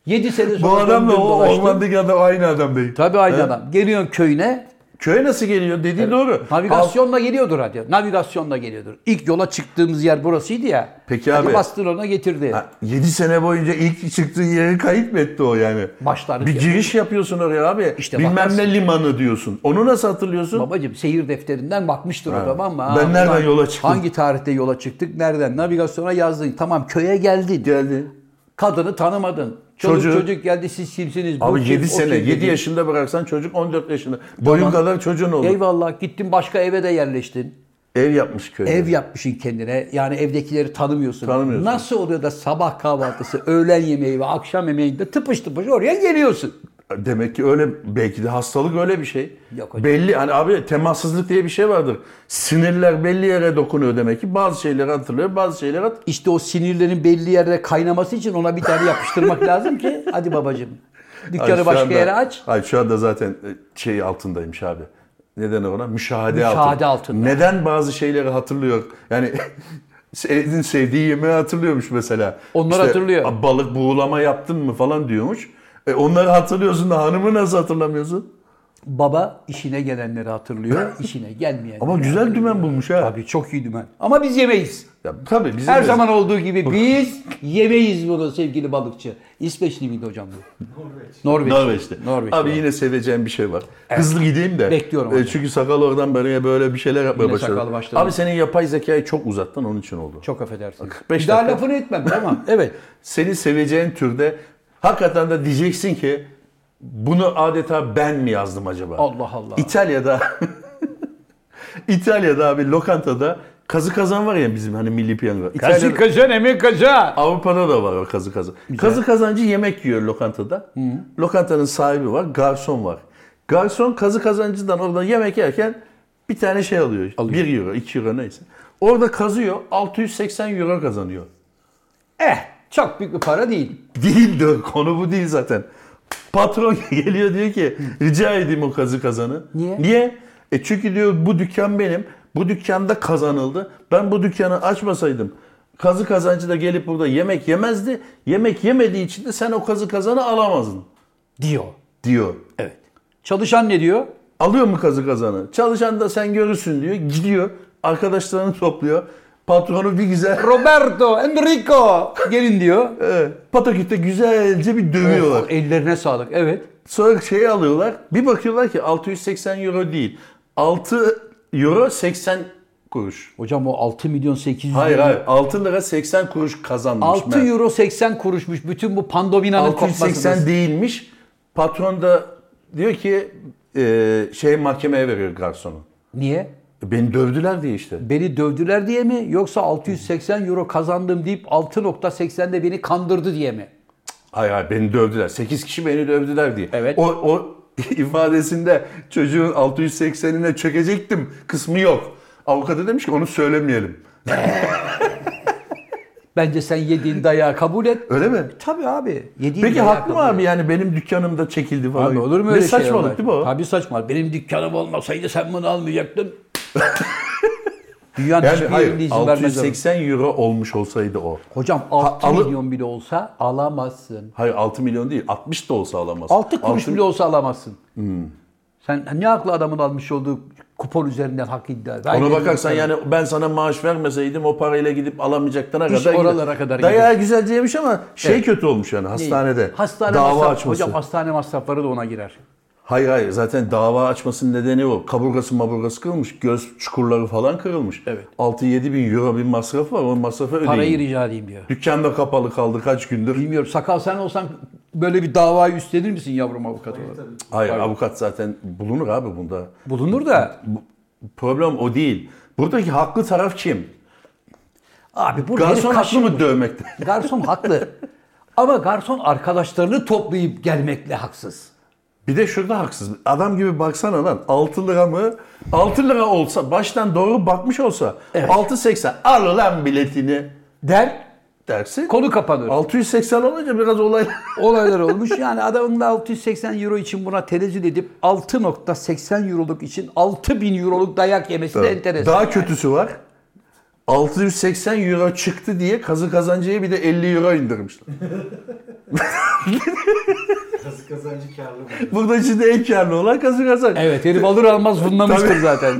[SPEAKER 1] 7 sene
[SPEAKER 2] Bu
[SPEAKER 1] sonra
[SPEAKER 2] adamla
[SPEAKER 1] döndün,
[SPEAKER 2] o
[SPEAKER 1] dolaştın.
[SPEAKER 2] ormandaki adam aynı adam değil.
[SPEAKER 1] Tabii aynı
[SPEAKER 2] Evet.
[SPEAKER 1] adam. Geliyorsun köyüne
[SPEAKER 2] Köye nasıl geliyor dediği doğru.
[SPEAKER 1] Navigasyonla geliyordur hadi. Navigasyonla geliyordur. İlk yola çıktığımız yer burasıydı ya.
[SPEAKER 2] Peki
[SPEAKER 1] Hadi
[SPEAKER 2] abi.
[SPEAKER 1] Bastın ona getirdi.
[SPEAKER 2] 7 sene boyunca ilk çıktığı yeri kayıt mı etti o yani?
[SPEAKER 1] Başlar.
[SPEAKER 2] Bir giriş yapıyorsun oraya abi.
[SPEAKER 1] İşte
[SPEAKER 2] Bilmem
[SPEAKER 1] bakarsın.
[SPEAKER 2] ne limanı diyorsun. Onu nasıl hatırlıyorsun?
[SPEAKER 1] Babacım seyir defterinden bakmıştır o tamam mı?
[SPEAKER 2] Ben nereden
[SPEAKER 1] ulan
[SPEAKER 2] yola çıktım?
[SPEAKER 1] Hangi tarihte yola çıktık? Nereden? Navigasyona yazdın. Tamam köye geldin.
[SPEAKER 2] Geldi.
[SPEAKER 1] Kadını tanımadın. Çocuk
[SPEAKER 2] Çocuğu-
[SPEAKER 1] çocuk geldi siz kimsiniz? Bu
[SPEAKER 2] Abi
[SPEAKER 1] kim,
[SPEAKER 2] 7
[SPEAKER 1] o
[SPEAKER 2] sene,
[SPEAKER 1] kim
[SPEAKER 2] 7
[SPEAKER 1] dedi.
[SPEAKER 2] yaşında bıraksan çocuk 14 yaşında. Boyun kadar çocuğun olur. Ev,
[SPEAKER 1] Eyvallah gittin başka eve de yerleştin.
[SPEAKER 2] yapmış köyde.
[SPEAKER 1] Ev yapmışsın kendine. Yani evdekileri tanımıyorsun.
[SPEAKER 2] Tanımıyorsun.
[SPEAKER 1] Nasıl oluyor da sabah kahvaltısı, öğlen yemeği ve akşam yemeğinde tıpış tıpış oraya geliyorsun.
[SPEAKER 2] Demek ki öyle belki de hastalık öyle bir şey.
[SPEAKER 1] Yok hocam.
[SPEAKER 2] Belli hani abi temassızlık diye bir şey vardır. Sinirler belli yere dokunuyor demek ki. Bazı şeyleri hatırlıyor, bazı şeyleri hat-
[SPEAKER 1] İşte o sinirlerin belli yerde kaynaması için ona bir tane yapıştırmak lazım ki hadi babacığım.
[SPEAKER 2] Ay,
[SPEAKER 1] Dükkanı
[SPEAKER 2] şu
[SPEAKER 1] başka
[SPEAKER 2] anda-
[SPEAKER 1] yere aç.
[SPEAKER 2] Ay şu anda zaten e, şey altındaymış abi. Neden ona? Müşahede,
[SPEAKER 1] Müşahede
[SPEAKER 2] altında.
[SPEAKER 1] altında.
[SPEAKER 2] Neden bazı şeyleri hatırlıyor? Yani sevdiğin sevdiği yemeği hatırlıyormuş mesela.
[SPEAKER 1] Onları hatırlıyor.
[SPEAKER 2] "A, Balık buğulama yaptın mı falan diyormuş. E, onları hatırlıyorsun da hanımı nasıl hatırlamıyorsun?
[SPEAKER 1] Baba işine gelenleri hatırlıyor, işine gelmeyenleri.
[SPEAKER 2] Ama güzel dümen bulmuş ha.
[SPEAKER 1] Tabii çok iyi dümen. Ama biz yemeyiz.
[SPEAKER 2] Ya, tabii bizim
[SPEAKER 1] Her
[SPEAKER 2] de-
[SPEAKER 1] zaman olduğu gibi biz yemeyiz bunu sevgili balıkçı. İsveçli miydi hocam bu?
[SPEAKER 3] Norveç.
[SPEAKER 1] Norveç.
[SPEAKER 2] Norveç'te.
[SPEAKER 1] Norveç.
[SPEAKER 2] Abi yine seveceğim bir şey var. Hızlı gideyim de.
[SPEAKER 1] Bekliyorum
[SPEAKER 2] E,
[SPEAKER 1] abi.
[SPEAKER 2] çünkü sakal oradan böyle böyle bir şeyler yapmaya
[SPEAKER 1] Yine
[SPEAKER 2] başladı.
[SPEAKER 1] sakal başladı.
[SPEAKER 2] Abi senin yapay zekayı çok uzattın onun için oldu.
[SPEAKER 1] Çok affedersiniz.
[SPEAKER 2] 45
[SPEAKER 1] Bir daha
[SPEAKER 2] dakika.
[SPEAKER 1] lafını etmem tamam. Evet.
[SPEAKER 2] Seni seveceğin türde hakikaten de diyeceksin ki bunu adeta ben mi yazdım acaba?
[SPEAKER 1] Allah Allah.
[SPEAKER 2] İtalya'da İtalya'da abi lokantada kazı kazan var ya bizim hani milli piyango. İtalya'da-
[SPEAKER 1] kaza ne mi kaza?
[SPEAKER 2] Avrupa'da da var o kazı kazan. Kazı kazancı yemek yiyor lokantada. Lokantanın sahibi var, garson var. Garson kazı kazancıdan orada yemek yerken bir tane şey alıyor. 1 euro, 2 euro neyse. Orada kazıyor, 680 euro kazanıyor.
[SPEAKER 1] Eh çok büyük bir para değil.
[SPEAKER 2] Değil de konu bu değil zaten. Patron geliyor diyor ki rica edeyim o kazı kazanı.
[SPEAKER 1] Niye?
[SPEAKER 2] Niye? E çünkü diyor bu dükkan benim. Bu dükkanda kazanıldı. Ben bu dükkanı açmasaydım kazı kazancı da gelip burada yemek yemezdi. Yemek yemediği için de sen o kazı kazanı alamazdın
[SPEAKER 1] Diyor.
[SPEAKER 2] diyor.
[SPEAKER 1] Evet. Çalışan ne diyor?
[SPEAKER 2] Alıyor mu kazı kazanı? Çalışan da sen görürsün diyor. Gidiyor. Arkadaşlarını topluyor. Patronu bir güzel
[SPEAKER 1] Roberto, Enrico gelin diyor.
[SPEAKER 2] e, pataküte güzelce bir dövüyorlar.
[SPEAKER 1] Oh, ellerine sağlık. Evet.
[SPEAKER 2] Sonra şeyi alıyorlar. Bir bakıyorlar ki 680 euro değil. 6 euro 80 kuruş.
[SPEAKER 1] Hocam o 6 milyon 800
[SPEAKER 2] Hayır hayır. 6 lira 80 kuruş kazanmış.
[SPEAKER 1] 6
[SPEAKER 2] meğer.
[SPEAKER 1] euro 80 kuruşmuş bütün bu pandominanın
[SPEAKER 2] 680
[SPEAKER 1] kopmasını.
[SPEAKER 2] değilmiş. Patron da diyor ki e, şey mahkemeye veriyor garsonu.
[SPEAKER 1] Niye?
[SPEAKER 2] E, Beni dövdüler diye işte.
[SPEAKER 1] Beni dövdüler diye mi yoksa 680 euro kazandım deyip 6.80'de beni kandırdı diye mi?
[SPEAKER 2] Hayır hayır beni dövdüler. 8 kişi beni dövdüler diye.
[SPEAKER 1] Evet.
[SPEAKER 2] O, o ifadesinde çocuğun 680'ine çökecektim kısmı yok. Avukatı demiş ki onu söylemeyelim.
[SPEAKER 1] Bence sen yediğin dayağı kabul et.
[SPEAKER 2] Öyle mi?
[SPEAKER 1] E, Tabii abi. Yediğin
[SPEAKER 2] Peki
[SPEAKER 1] dayağı
[SPEAKER 2] haklı mı
[SPEAKER 1] kabul et.
[SPEAKER 2] abi yani benim dükkanımda çekildi falan.
[SPEAKER 1] Abi olur mu öyle şey?
[SPEAKER 2] ne saçmalık
[SPEAKER 1] Allah
[SPEAKER 2] değil mi o?
[SPEAKER 1] aşkına? Tabii saçma. Benim dükkanım olmasaydı sen bunu almayacaktın. Dünyanın
[SPEAKER 2] Yani
[SPEAKER 1] hiçbir yerinde
[SPEAKER 2] hayır
[SPEAKER 1] izin vermez.
[SPEAKER 2] 680 euro olmuş olsaydı o.
[SPEAKER 1] Hocam 6
[SPEAKER 2] alı-
[SPEAKER 1] milyon bile olsa alamazsın.
[SPEAKER 2] Hayır 6 milyon değil 60 da olsa alamaz.
[SPEAKER 1] 6 kuruş
[SPEAKER 2] Altı- Hmm.
[SPEAKER 1] bile olsa alamazsın. Sen ne haklı adamın almış olduğu kupon üzerinden hak iddia. Ben
[SPEAKER 2] Ona
[SPEAKER 1] dedim
[SPEAKER 2] bakarsan
[SPEAKER 1] sana.
[SPEAKER 2] yani ben sana maaş vermeseydim o parayla gidip alamayacaklarına
[SPEAKER 1] İş
[SPEAKER 2] kadar
[SPEAKER 1] oralara kadar
[SPEAKER 2] Dayağı güzelce yemiş ama şey kötü olmuş yani
[SPEAKER 1] Değil.
[SPEAKER 2] hastanede.
[SPEAKER 1] Hastane
[SPEAKER 2] Dava
[SPEAKER 1] masraf-
[SPEAKER 2] açması.
[SPEAKER 1] Hocam hastane masrafları da ona girer.
[SPEAKER 2] Hayır hayır zaten dava açmasının nedeni o. Kaburgası maburgası kırılmış, göz çukurları falan kırılmış.
[SPEAKER 1] Evet.
[SPEAKER 2] 6-7 bin euro bir masrafı var, o masrafı ödeyin.
[SPEAKER 1] Parayı rica edeyim diyor.
[SPEAKER 2] Dükkan da kapalı kaldı kaç gündür.
[SPEAKER 1] Bilmiyorum sakal sen olsan böyle bir davayı üstlenir misin yavrum avukat olarak?
[SPEAKER 3] E Tabii.
[SPEAKER 2] Hayır avukat zaten bulunur abi bunda.
[SPEAKER 1] Bulunur da
[SPEAKER 2] Bu- Problem o değil. Buradaki haklı taraf kim?
[SPEAKER 1] abi bu herif
[SPEAKER 2] Garson
[SPEAKER 1] kaç-
[SPEAKER 2] haklı mı dövmekte?
[SPEAKER 1] Garson haklı. Ama garson arkadaşlarını toplayıp gelmekle haksız.
[SPEAKER 2] Bir de şurada haksız. Adam gibi baksana lan. 6 lira mı? 6 lira olsa baştan doğru bakmış olsa
[SPEAKER 1] Evet.
[SPEAKER 2] 6.80 al lan biletini
[SPEAKER 1] Der
[SPEAKER 2] dersin.
[SPEAKER 1] konu kapanır.
[SPEAKER 2] 680 olunca biraz olay
[SPEAKER 1] Olaylar olmuş. Yani adamın da 680 euro için buna tenezzül edip 6.80 euroluk için 6000 euroluk dayak yemesi de enteresan.
[SPEAKER 2] Daha kötüsü var. 680 euro çıktı diye kazı kazancıya bir de 50 euro indirmişler.
[SPEAKER 3] Kazı kazancı karlı mı?
[SPEAKER 2] Burada şimdi en karlı olan kazı kazancı.
[SPEAKER 1] Evet herif alır almaz bunlamıştır
[SPEAKER 2] Tabii.
[SPEAKER 1] zaten.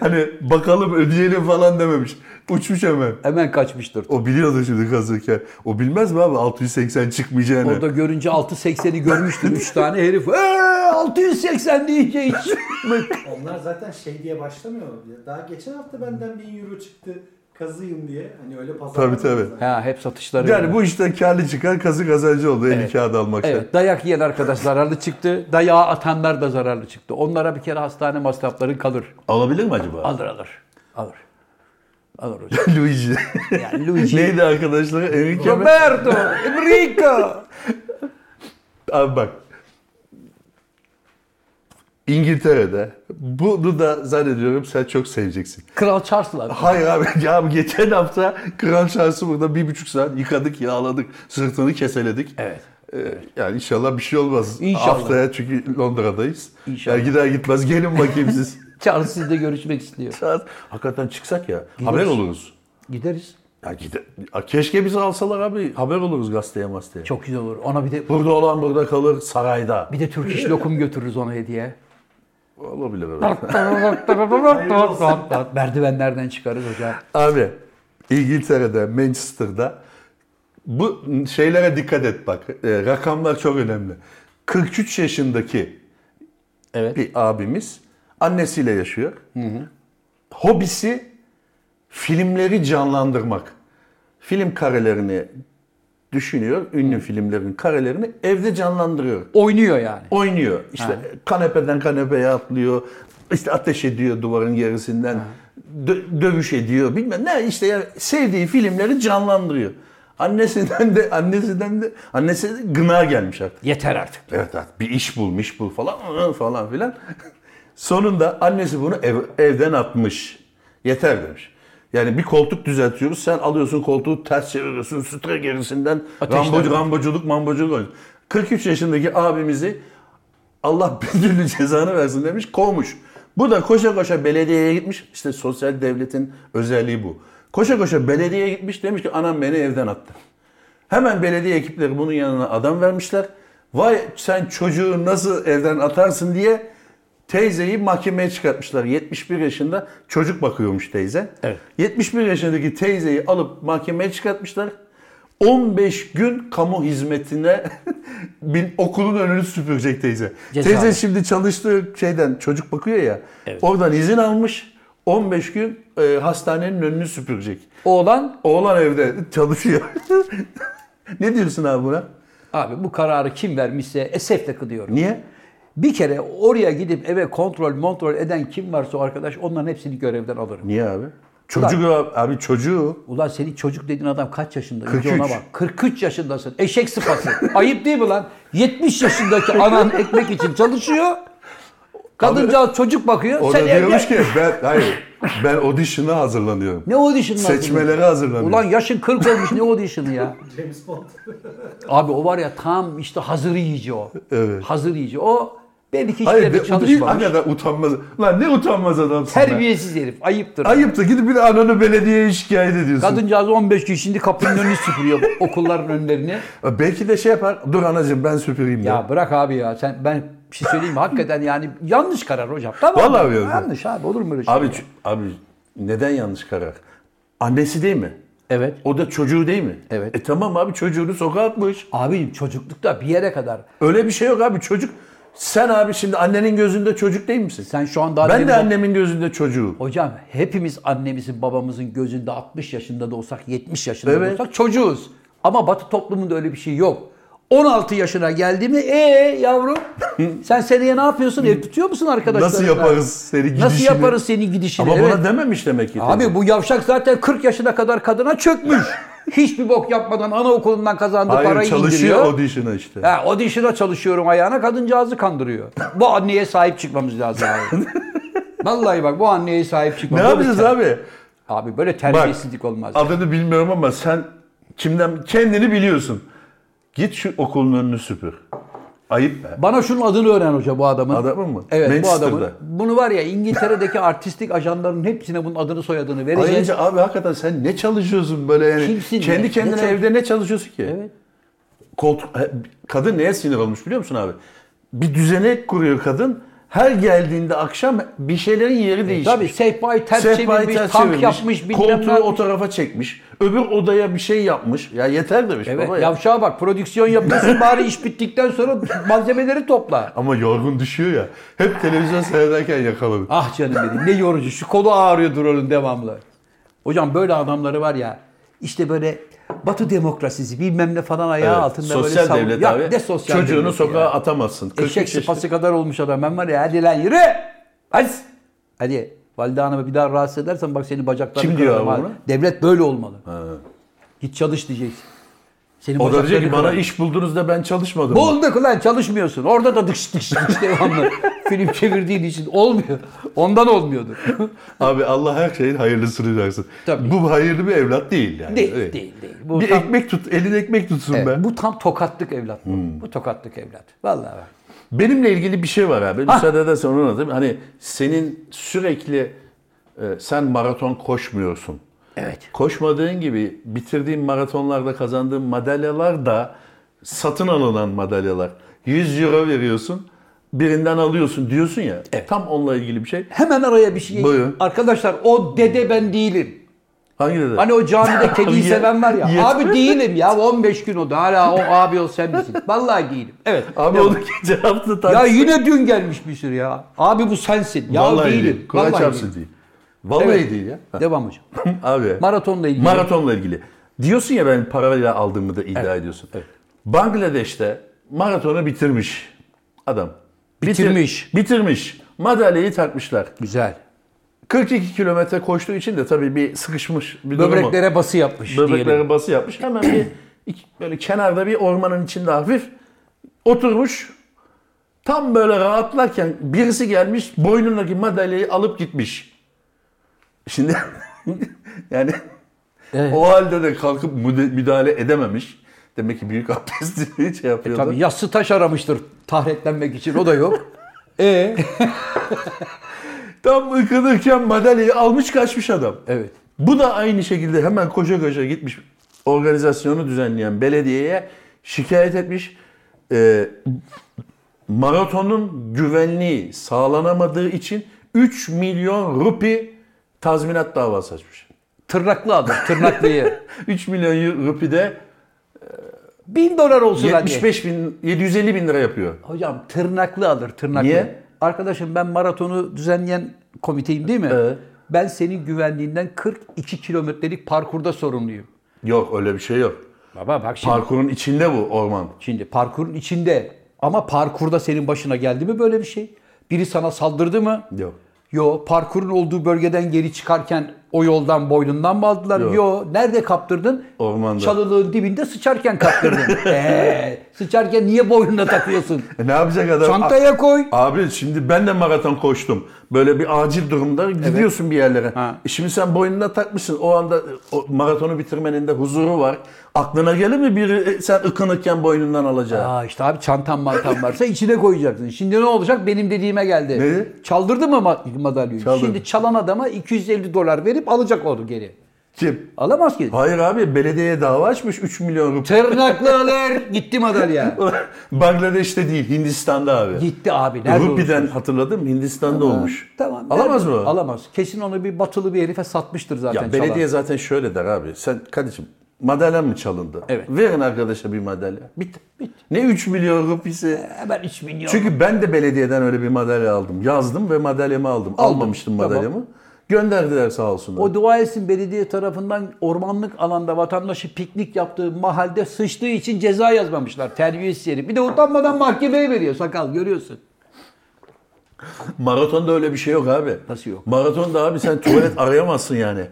[SPEAKER 2] Hani bakalım ödeyelim falan dememiş. Uçmuş hemen.
[SPEAKER 1] Hemen kaçmıştır.
[SPEAKER 2] O biliyordu şimdi kazırken. O bilmez mi abi 680 çıkmayacağını.
[SPEAKER 1] Orada görünce 6.80'i görmüştür 3 tane herif. "Ee, 680 diyince hiç.
[SPEAKER 3] Onlar zaten şey diye başlamıyor. mu? Daha geçen hafta benden 1000 euro çıktı kazıyım diye. Hani öyle pazar.
[SPEAKER 2] Tabii, tabii.
[SPEAKER 1] ha hep satışları.
[SPEAKER 2] yani
[SPEAKER 1] öyle.
[SPEAKER 2] bu işten karlı çıkan kazı kazancı oldu eli kağıdı almakta.
[SPEAKER 1] Evet, dayak yiyen arkadaş zararlı çıktı. Dayağı atanlar da zararlı çıktı. Onlara bir kere hastane masrafları kalır.
[SPEAKER 2] Alabilir mi acaba?
[SPEAKER 1] Alır alır. Alır. Alır hocam.
[SPEAKER 2] Luigi.
[SPEAKER 1] Yani Luigi.
[SPEAKER 2] Neydi arkadaşları? Enrique mi?
[SPEAKER 1] Roberto, Enrico.
[SPEAKER 2] Abi bak. İngiltere'de. Bunu da zannediyorum sen çok seveceksin.
[SPEAKER 1] Kral Charles'lar.
[SPEAKER 2] Hayır abi ya geçen hafta Kral Şahsı burada bir buçuk saat yıkadık, yağladık, sırtını keseledik.
[SPEAKER 1] Evet.
[SPEAKER 2] Ee, yani inşallah bir şey olmaz.
[SPEAKER 1] İnşallah.
[SPEAKER 2] Haftaya çünkü Londra'dayız.
[SPEAKER 1] İnşallah.
[SPEAKER 2] Yani gider gitmez gelin bakayım siz.
[SPEAKER 1] Charles sizle görüşmek istiyor.
[SPEAKER 2] Saat- Hakikaten çıksak ya haber oluruz.
[SPEAKER 1] Gideriz.
[SPEAKER 2] Ya gide- Ya keşke bizi alsalar abi haber oluruz gazeteye masteye.
[SPEAKER 1] Çok güzel olur. Ona bir de
[SPEAKER 2] Burada olan burada kalır sarayda.
[SPEAKER 1] bir de Türk iş lokum götürürüz ona hediye.
[SPEAKER 2] Olabilir abi.
[SPEAKER 1] Merdivenlerden çıkarız hocam.
[SPEAKER 2] Abi İngiltere'de, Manchester'da bu şeylere dikkat et bak. E, rakamlar çok önemli. 43 yaşındaki
[SPEAKER 1] Evet.
[SPEAKER 2] bir abimiz annesiyle yaşıyor. Hobisi filmleri canlandırmak. Film karelerini düşünüyor. Ünlü filmlerin karelerini evde canlandırıyor.
[SPEAKER 1] Oynuyor yani.
[SPEAKER 2] Oynuyor. İşte kanepeden kanepeye atlıyor. İşte ateş ediyor duvarın gerisinden. Dö- dövüş ediyor. Bilmem ne işte yani sevdiği filmleri canlandırıyor. Annesinden de annesinden de annesi de gına gelmiş artık.
[SPEAKER 1] Yeter artık.
[SPEAKER 2] Evet artık bir iş bul, iş bul falan ıı, falan filan. Sonunda annesi bunu ev- evden atmış. Yeter demiş. Yani bir koltuk düzeltiyoruz. Sen alıyorsun koltuğu ters çeviriyorsun. Sütre gerisinden
[SPEAKER 1] Ateşler
[SPEAKER 2] rambocu,
[SPEAKER 1] var.
[SPEAKER 2] ramboculuk mamboculuk oynuyor. 43 yaşındaki abimizi Allah bir türlü cezanı versin demiş kovmuş. Bu da koşa koşa belediyeye gitmiş. İşte sosyal devletin özelliği bu. Koşa koşa belediyeye gitmiş demiş ki anam beni evden attı. Hemen belediye ekipleri bunun yanına adam vermişler. Vay sen çocuğu nasıl evden atarsın diye teyzeyi mahkemeye çıkartmışlar. 71 yaşında çocuk bakıyormuş teyze.
[SPEAKER 1] Evet.
[SPEAKER 2] 71 yaşındaki teyzeyi alıp mahkemeye çıkartmışlar. 15 gün kamu hizmetine bin, okulun önünü süpürecek teyze.
[SPEAKER 1] Ceza.
[SPEAKER 2] Teyze şimdi çalıştığı şeyden çocuk bakıyor ya.
[SPEAKER 1] Evet.
[SPEAKER 2] Oradan izin almış. 15 gün e, hastanenin önünü süpürecek.
[SPEAKER 1] Oğlan
[SPEAKER 2] Oğlan evde çalışıyor. ne diyorsun abi buna?
[SPEAKER 1] abi bu kararı kim vermişse esefle kınıyorum.
[SPEAKER 2] Niye?
[SPEAKER 1] Bir kere oraya gidip eve kontrol montrol eden kim varsa o arkadaş onların hepsini görevden alırım.
[SPEAKER 2] Niye abi? Çocuğu abi, abi çocuğu.
[SPEAKER 1] Ulan senin çocuk dediğin adam kaç yaşında? Önce
[SPEAKER 2] 43.
[SPEAKER 1] Ona bak. 43 yaşındasın. Eşek sıpası. Ayıp değil mi lan? 70 yaşındaki anan ekmek için çalışıyor. Kadıncağız çocuk bakıyor.
[SPEAKER 2] O
[SPEAKER 1] sen
[SPEAKER 2] da diyormuş
[SPEAKER 1] evlen.
[SPEAKER 2] ki ben hayır ben audition'a hazırlanıyorum.
[SPEAKER 1] Ne audition'ı?
[SPEAKER 2] Seçmelere hazırlanıyorum.
[SPEAKER 1] Ulan yaşın 40 olmuş ne audition'ı ya?
[SPEAKER 3] James Bond.
[SPEAKER 1] Abi o var ya tam işte hazır yiyici o.
[SPEAKER 2] Evet.
[SPEAKER 1] Hazır yiyici. O belli ki hiç
[SPEAKER 2] hayır
[SPEAKER 1] yerde
[SPEAKER 2] de, çalışmamış.
[SPEAKER 1] çalışmamış.
[SPEAKER 2] Hakikaten utanmaz. Lan ne utanmaz adamsın be.
[SPEAKER 1] Terbiyesiz herif. Ayıptır.
[SPEAKER 2] Ayıptır gidip bir de ananı belediyeye şikayet ediyorsun.
[SPEAKER 1] Kadıncağız 15 gün şimdi kapının önünü süpürüyor okulların önlerini.
[SPEAKER 2] Belki de şey yapar. Dur anacığım ben süpüreyim ya.
[SPEAKER 1] Ya bırak abi ya sen ben bir şey söyleyeyim mi? Hakikaten yani yanlış karar hocam. Tamam
[SPEAKER 2] Vallahi
[SPEAKER 1] mı?
[SPEAKER 2] yanlış.
[SPEAKER 1] Yanlış abi olur mu öyle şey?
[SPEAKER 2] Abi
[SPEAKER 1] ya?
[SPEAKER 2] ç- abi neden yanlış karar? Annesi değil mi?
[SPEAKER 1] Evet.
[SPEAKER 2] O da çocuğu değil mi?
[SPEAKER 1] Evet.
[SPEAKER 2] E tamam abi çocuğunu sokağa atmış.
[SPEAKER 1] Abicim çocuklukta bir yere kadar
[SPEAKER 2] Öyle bir şey yok abi çocuk Sen abi şimdi annenin gözünde çocuk değil misin?
[SPEAKER 1] Sen şu an daha
[SPEAKER 2] ben de
[SPEAKER 1] demin-
[SPEAKER 2] annemin gözünde çocuğum.
[SPEAKER 1] Hocam hepimiz annemizin babamızın gözünde 60 yaşında da olsak 70 yaşında da
[SPEAKER 2] Evet.
[SPEAKER 1] olsak çocuğuz. Ama batı toplumunda öyle bir şey yok. 16 yaşına geldi mi ee yavrum sen seneye ne yapıyorsun? Ev tutuyor musun arkadaşlarına?
[SPEAKER 2] Nasıl yaparız seni gidişini?
[SPEAKER 1] Nasıl yaparız senin gidişini?
[SPEAKER 2] Ama
[SPEAKER 1] Evet.
[SPEAKER 2] buna dememiş demek ki. teyze.
[SPEAKER 1] Abi bu yavşak zaten 40 yaşına kadar kadına çökmüş. Hiçbir bok yapmadan anaokulundan kazandığı
[SPEAKER 2] Hayır,
[SPEAKER 1] parayı
[SPEAKER 2] çalışıyor
[SPEAKER 1] indiriyor.
[SPEAKER 2] audition'a işte.
[SPEAKER 1] Ha, o dişine çalışıyorum ayağına kadıncağızı kandırıyor. bu anneye sahip çıkmamız lazım abi. Vallahi bak bu anneye sahip
[SPEAKER 2] ne
[SPEAKER 1] çıkmamız
[SPEAKER 2] yapacağız abi?
[SPEAKER 1] Abi böyle terbiyesizlik olmaz.
[SPEAKER 2] Adını bilmiyorum ama sen kimden kendini biliyorsun. Git şu okulun önünü süpür. Ayıp be.
[SPEAKER 1] Bana şunun adını öğren hoca bu adamın.
[SPEAKER 2] Adamın mı?
[SPEAKER 1] Evet bu
[SPEAKER 2] Manchester'da.
[SPEAKER 1] adamın. Bunu var ya İngiltere'deki artistik ajanların hepsine bunun adını soyadını vereceğiz.
[SPEAKER 2] Ayrıca abi hakikaten sen ne çalışıyorsun böyle yani?
[SPEAKER 1] Kimsin
[SPEAKER 2] Kendi
[SPEAKER 1] ne?
[SPEAKER 2] kendine
[SPEAKER 1] Ne çalış-
[SPEAKER 2] evde ne çalışıyorsun ki?
[SPEAKER 1] Evet.
[SPEAKER 2] Koltuk, kadın neye sinir olmuş biliyor musun abi? Bir düzenek kuruyor kadın. Her geldiğinde akşam bir şeylerin yeri değişmiş.
[SPEAKER 1] E, Tabii sehpayı ters
[SPEAKER 2] Sehpayı
[SPEAKER 1] çevirmiş,
[SPEAKER 2] ters
[SPEAKER 1] tank
[SPEAKER 2] çevirmiş,
[SPEAKER 1] yapmış, bilmem ne
[SPEAKER 2] koltuğu
[SPEAKER 1] yapmış.
[SPEAKER 2] o tarafa çekmiş, öbür odaya bir şey yapmış. Ya yeter demiş
[SPEAKER 1] Evet,
[SPEAKER 2] baba ya.
[SPEAKER 1] yavşağa bak prodüksiyon yapıyorsun bari iş bittikten sonra malzemeleri topla.
[SPEAKER 2] Ama yorgun düşüyor ya. Hep televizyon seyrederken yakaladık.
[SPEAKER 1] Ah canım benim ne yorucu. Şu kolu ağrıyordur onun devamlı. Hocam böyle adamları var ya işte böyle Batı demokrasisi bilmem ne falan ayağı
[SPEAKER 2] Evet,
[SPEAKER 1] altında böyle
[SPEAKER 2] sosyal
[SPEAKER 1] savun-
[SPEAKER 2] devlet
[SPEAKER 1] Ya
[SPEAKER 2] abi.
[SPEAKER 1] ne sosyal
[SPEAKER 2] Çocuğunu
[SPEAKER 1] devleti
[SPEAKER 2] sokağa
[SPEAKER 1] ya?
[SPEAKER 2] atamazsın. 43
[SPEAKER 1] Eşek
[SPEAKER 2] yaşında.
[SPEAKER 1] sıpası kadar olmuş adam. Ben var ya hadi lan yürü. Hadi. Hadi. Valide hanımı bir daha rahatsız edersen bak senin bacaklarını
[SPEAKER 2] Kim diyor
[SPEAKER 1] kırarım
[SPEAKER 2] abi
[SPEAKER 1] ha.
[SPEAKER 2] bunu?
[SPEAKER 1] Devlet böyle olmalı. Git çalış diyeceksin. Senin
[SPEAKER 2] O da diyecek ki bana
[SPEAKER 1] kırarım."
[SPEAKER 2] iş buldunuz da ben çalışmadım.
[SPEAKER 1] Bulduk ulan çalışmıyorsun. Orada da dış dış dış devamlı. Film çevirdiğin için olmuyor. Ondan olmuyordu.
[SPEAKER 2] Abi Allah her şeyin hayırlısını versin.
[SPEAKER 1] Tabii.
[SPEAKER 2] Bu hayırlı bir evlat değil yani.
[SPEAKER 1] Değil,
[SPEAKER 2] Evet.
[SPEAKER 1] değil, değil. Bu
[SPEAKER 2] bir
[SPEAKER 1] tam-
[SPEAKER 2] ekmek tut, elin ekmek tutsun
[SPEAKER 1] Evet, Hmm.
[SPEAKER 2] ben.
[SPEAKER 1] bu tam tokatlık evlat bu. Bu tokatlık evlat. Vallahi bak.
[SPEAKER 2] Benimle ilgili bir şey var abi. Müsaade edersen onu anlatayım. Hani senin sürekli e, sen maraton koşmuyorsun.
[SPEAKER 1] Evet.
[SPEAKER 2] Koşmadığın gibi bitirdiğin maratonlarda kazandığın madalyalar da satın alınan madalyalar. 100 euro veriyorsun. Birinden alıyorsun diyorsun ya. Tam onunla ilgili bir şey.
[SPEAKER 1] Hemen araya bir şey.
[SPEAKER 2] Buyurun.
[SPEAKER 1] Arkadaşlar o dede ben değilim.
[SPEAKER 2] Hangi dedi?
[SPEAKER 1] Hani o camide kediyi
[SPEAKER 2] Ye-
[SPEAKER 1] seven var ya.
[SPEAKER 2] yetmez.
[SPEAKER 1] Abi değilim ya. 15 gün oldu. Hala o abi ol sen misin? Vallahi değilim. Evet.
[SPEAKER 2] Abi
[SPEAKER 1] Ya-
[SPEAKER 2] onu geçen hafta
[SPEAKER 1] Ya
[SPEAKER 2] tartıştık.
[SPEAKER 1] yine dün gelmiş bir sürü ya. Abi bu sensin. Ya
[SPEAKER 2] Vallahi
[SPEAKER 1] değilim.
[SPEAKER 2] değil. Kur'an
[SPEAKER 1] Vallahi
[SPEAKER 2] çarpsın
[SPEAKER 1] değilim.
[SPEAKER 2] değil. Vallahi
[SPEAKER 1] Evet.
[SPEAKER 2] değil ya. Ha.
[SPEAKER 1] Devam hocam.
[SPEAKER 2] Abi.
[SPEAKER 1] Maratonla ilgili.
[SPEAKER 2] Maratonla ilgili. Diyorsun ya ben parayla aldığımı da iddia ediyorsun. Bangladeş'te maratonu bitirmiş adam. Bitir-
[SPEAKER 1] Bitirmiş.
[SPEAKER 2] bitirmiş. Madalyayı takmışlar.
[SPEAKER 1] Güzel.
[SPEAKER 2] 42 kilometre koştuğu için de tabii bir sıkışmış bir durumu.
[SPEAKER 1] Böbreklere bası yapmış
[SPEAKER 2] Böbreklere
[SPEAKER 1] diyelim.
[SPEAKER 2] bası yapmış. Hemen bir iki- böyle kenarda bir ormanın içinde hafif oturmuş. Tam böyle rahatlarken birisi gelmiş boynundaki madalyayı alıp gitmiş. Şimdi yani
[SPEAKER 1] Evet.
[SPEAKER 2] o halde de kalkıp müde- müdahale edememiş. Demek ki büyük abdestini şey yapıyordu.
[SPEAKER 1] E, Tabii yassı taş aramıştır tahretlenmek için. O da yok. E
[SPEAKER 2] Tam ıkınırken madalyayı almış kaçmış adam.
[SPEAKER 1] Evet.
[SPEAKER 2] Bu da aynı şekilde hemen koşa koşa gitmiş organizasyonu düzenleyen belediyeye şikayet etmiş. Ee, maratonun güvenliği sağlanamadığı için 3 milyon rupi tazminat davası açmış.
[SPEAKER 1] tırnaklı adam, tırnaklıyı.
[SPEAKER 2] 3 milyon rupi de
[SPEAKER 1] Bin dolar olsun hadi.
[SPEAKER 2] 75 bin, 750 bin lira yapıyor.
[SPEAKER 1] Hocam tırnaklı alır tırnaklı.
[SPEAKER 2] Niye?
[SPEAKER 1] Arkadaşım ben maratonu düzenleyen komiteyim değil mi?
[SPEAKER 2] Evet.
[SPEAKER 1] Ben senin güvenliğinden 42 kilometrelik parkurda sorumluyum.
[SPEAKER 2] Yok öyle bir şey yok.
[SPEAKER 1] Baba bak şimdi,
[SPEAKER 2] Parkurun içinde bu orman.
[SPEAKER 1] şimdi parkurun içinde ama parkurda senin başına geldi mi böyle bir şey? Biri sana saldırdı mı?
[SPEAKER 2] Yok.
[SPEAKER 1] Yo parkurun olduğu bölgeden geri çıkarken o yoldan boynundan mı aldılar? Yo.
[SPEAKER 2] Yok.
[SPEAKER 1] Nerede kaptırdın?
[SPEAKER 2] Ormanda.
[SPEAKER 1] Çalılığın dibinde sıçarken kaptırdın. ee, sıçarken niye boynuna takıyorsun?
[SPEAKER 2] E ne yapacak adam?
[SPEAKER 1] Çantaya koy.
[SPEAKER 2] Abi şimdi ben de maraton koştum. Böyle bir acil durumda gidiyorsun bir yerlere.
[SPEAKER 1] Ha.
[SPEAKER 2] E Şimdi sen boynuna takmışsın. O anda o maratonu bitirmenin de huzuru var. Aklına gelir mi biri e, sen ıkınırken boynundan alacağı?
[SPEAKER 1] Aa işte abi çantam mantam varsa içine koyacaksın. Şimdi ne olacak? Benim dediğime geldi.
[SPEAKER 2] Ne?
[SPEAKER 1] Çaldırdı mı ma- madalyayı?
[SPEAKER 2] Çaldırdı.
[SPEAKER 1] Şimdi çalan adama 250 dolar verip alacak onu geri.
[SPEAKER 2] Kim?
[SPEAKER 1] Alamaz ki.
[SPEAKER 2] Hayır abi belediyeye dava açmış 3 milyon rupi.
[SPEAKER 1] Tırnaklı alır. Gitti madalya.
[SPEAKER 2] Bangladeş'te değil Hindistan'da abi.
[SPEAKER 1] Gitti abi. Nerede
[SPEAKER 2] Rupiden hatırladım Hindistan'da
[SPEAKER 1] olursa.
[SPEAKER 2] olmuş.
[SPEAKER 1] Tamam.
[SPEAKER 2] Alamaz
[SPEAKER 1] nerede-
[SPEAKER 2] mı?
[SPEAKER 1] Alamaz. Kesin onu bir batılı bir herife satmıştır zaten.
[SPEAKER 2] Ya belediye
[SPEAKER 1] çalan.
[SPEAKER 2] zaten şöyle der abi. Sen kardeşim Madalya mı çalındı?
[SPEAKER 1] Evet.
[SPEAKER 2] Verin arkadaşa bir madalya. Bitti. Bitti. Ne 3 milyon rupisi?
[SPEAKER 1] Hemen 3 milyon.
[SPEAKER 2] Çünkü ben de belediyeden öyle bir madalya aldım. Yazdım ve madalyamı aldım. Almamıştım
[SPEAKER 1] Tamam.
[SPEAKER 2] madalyamı. Gönderdiler sağ olsunlar.
[SPEAKER 1] O dua etsin belediye tarafından ormanlık alanda vatandaşı piknik yaptığı mahalde sıçtığı için ceza yazmamışlar. Terbiyesiz yeri. Bir de utanmadan mahkemeye veriyor sakal görüyorsun.
[SPEAKER 2] Maratonda öyle bir şey yok abi.
[SPEAKER 1] Nasıl yok?
[SPEAKER 2] Maratonda abi sen tuvalet arayamazsın yani.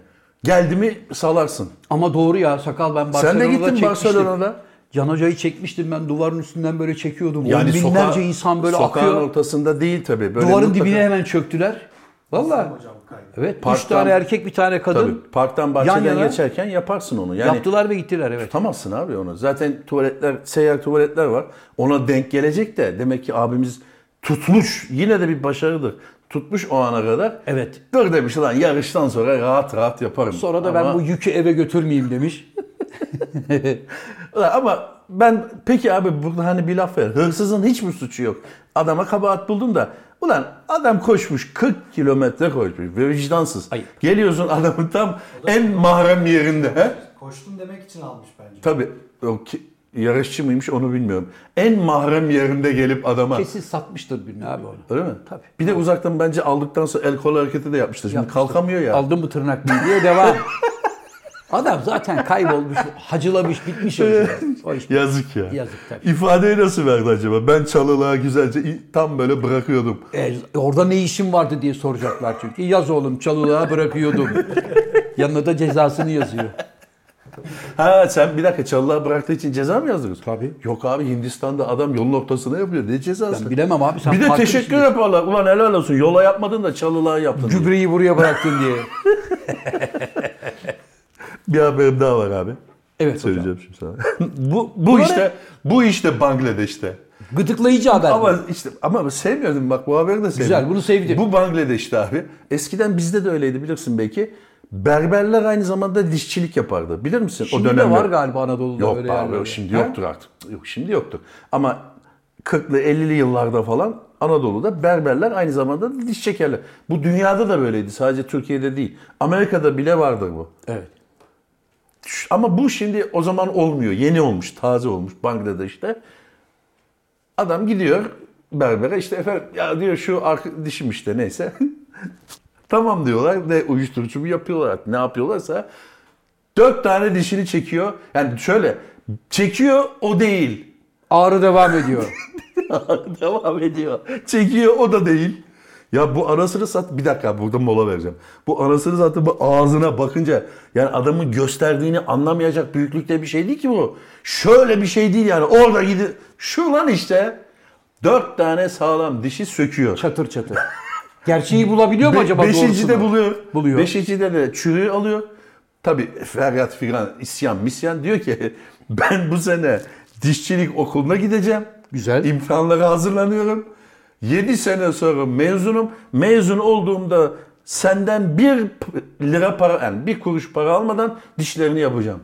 [SPEAKER 2] Geldi mi salarsın.
[SPEAKER 1] Ama doğru ya sakal ben Barcelona'da
[SPEAKER 2] sen de gittin
[SPEAKER 1] çekmiştim.
[SPEAKER 2] Barcelona'da.
[SPEAKER 1] Can Hoca'yı çekmiştim ben duvarın üstünden böyle çekiyordum.
[SPEAKER 2] Yani
[SPEAKER 1] On binlerce
[SPEAKER 2] sokağa-
[SPEAKER 1] insan böyle
[SPEAKER 2] sokağın
[SPEAKER 1] akıyor.
[SPEAKER 2] ortasında değil tabii. Böyle
[SPEAKER 1] Duvarın
[SPEAKER 2] mutlaka-
[SPEAKER 1] dibine hemen çöktüler. Vallahi.
[SPEAKER 3] Hocam kaydı.
[SPEAKER 1] Evet. üç
[SPEAKER 2] Parktan-
[SPEAKER 1] tane erkek bir tane kadın.
[SPEAKER 2] Tabii, parktan bahçeden
[SPEAKER 1] Yan yana-
[SPEAKER 2] geçerken yaparsın onu. Yani
[SPEAKER 1] Yaptılar ve gittiler evet.
[SPEAKER 2] tutamazsın abi onu. Zaten tuvaletler, seyyar tuvaletler var. Ona denk gelecek de demek ki abimiz tutmuş. Yine de bir başarıdır. Tutmuş o ana kadar.
[SPEAKER 1] Evet.
[SPEAKER 2] Dur demiş lan yarıştan sonra rahat rahat yaparım.
[SPEAKER 1] Sonra da ben
[SPEAKER 2] Ama-
[SPEAKER 1] bu yükü eve götürmeyeyim demiş.
[SPEAKER 2] Ulan Ama ben peki abi burada hani bir laf ver. Hırsızın hiç mi suçu yok? Adama kabahat buldun da ulan adam koşmuş 40 kilometre koşmuş ve vicdansız.
[SPEAKER 1] Ayıp.
[SPEAKER 2] Geliyorsun adamın tam en mahrem yerinde. He?
[SPEAKER 3] Koştum demek için almış bence.
[SPEAKER 2] Tabii o ki, yarışçı mıymış onu bilmiyorum. En mahrem yerinde gelip adama.
[SPEAKER 1] Kesin satmıştır birine abi onu.
[SPEAKER 2] Öyle mi?
[SPEAKER 1] Tabii.
[SPEAKER 2] Bir de uzaktan bence aldıktan sonra el kol hareketi de yapmıştır. Şimdi
[SPEAKER 1] Yapmıştır.
[SPEAKER 2] kalkamıyor ya.
[SPEAKER 1] Aldın mı tırnak mı diye devam. Adam zaten kaybolmuş, hacılamış, bitmiş o işler. O iş.
[SPEAKER 2] Yazık ya.
[SPEAKER 1] Yazık tabii.
[SPEAKER 2] İfadeyi nasıl verdi acaba? Ben çalılığa güzelce i- tam böyle bırakıyordum.
[SPEAKER 1] E, orada ne işin vardı diye soracaklar çünkü. Yaz oğlum çalılığa bırakıyordum. Yanına da cezasını yazıyor.
[SPEAKER 2] Ha sen bir dakika çalılığa bıraktığı için ceza mı yazdınız?
[SPEAKER 1] Tabii.
[SPEAKER 2] Yok abi Hindistan'da adam yolun ortasına yapıyor. Ne cezası?
[SPEAKER 1] Ben bilemem abi, sen
[SPEAKER 2] bir de
[SPEAKER 1] farklı şey-
[SPEAKER 2] teşekkür
[SPEAKER 1] düşünüyorsun.
[SPEAKER 2] yaparlar. Ulan helal olsun yola yapmadın da çalılığa yaptın. diye.
[SPEAKER 1] Gübreyi buraya bıraktın diye.
[SPEAKER 2] Bir haberim daha var abi.
[SPEAKER 1] Evet hocam.
[SPEAKER 2] Söyleyeceğim şimdi sana. bu bu işte bu işte Bangladeş'te.
[SPEAKER 1] Gıdıklayıcı haber.
[SPEAKER 2] Ama işte ama sevmiyordum bak bu haberi de sevdim.
[SPEAKER 1] Güzel, bunu sevdim.
[SPEAKER 2] Bu Bangladeş'te abi. Eskiden bizde de öyleydi bilirsin belki. Berberler aynı zamanda dişçilik yapardı. Bilir misin
[SPEAKER 1] Şimdi
[SPEAKER 2] o dönemde?
[SPEAKER 1] de var galiba Anadolu'da
[SPEAKER 2] Yok
[SPEAKER 1] öyle
[SPEAKER 2] be abi
[SPEAKER 1] yerler.
[SPEAKER 2] yok şimdi
[SPEAKER 1] Ha?
[SPEAKER 2] yoktur artık. Yok şimdi yoktur. Ama 40'lı 50'li yıllarda falan Anadolu'da berberler aynı zamanda da diş çekerler. Bu dünyada da böyleydi. Sadece Türkiye'de değil. Amerika'da bile vardır bu.
[SPEAKER 1] Evet.
[SPEAKER 2] Ş- Ama bu şimdi o zaman olmuyor. Yeni olmuş, taze olmuş Bangladeş'te. Adam gidiyor berbere işte efendim ya diyor şu arka dişim işte neyse. tamam diyorlar ve uyuşturucu mu yapıyorlar ne yapıyorlarsa. Dört tane dişini çekiyor. Yani şöyle çekiyor o değil.
[SPEAKER 1] Ağrı devam ediyor.
[SPEAKER 2] Devam ediyor. Çekiyor o da değil. Ya bu anasını sat bir dakika burada mola vereceğim. Bu anasını satın bu ağzına bakınca yani adamın gösterdiğini anlamayacak büyüklükte bir şey değil ki bu. Şöyle bir şey değil yani orada gidi şu lan işte dört tane sağlam dişi söküyor.
[SPEAKER 1] Çatır çatır. Gerçeği bulabiliyor mu
[SPEAKER 2] Be-
[SPEAKER 1] acaba
[SPEAKER 2] beşinci de
[SPEAKER 1] doğrusunu?
[SPEAKER 2] buluyor.
[SPEAKER 1] Buluyor.
[SPEAKER 2] Beşincide de çürüğü alıyor. Tabi feryat figan, isyan, misyan diyor ki ben bu sene dişçilik okuluna gideceğim.
[SPEAKER 1] Güzel.
[SPEAKER 2] İmtihanlara hazırlanıyorum. 7 sene sonra mezunum. Mezun olduğumda senden bir p- lira para, yani bir kuruş para almadan dişlerini yapacağım.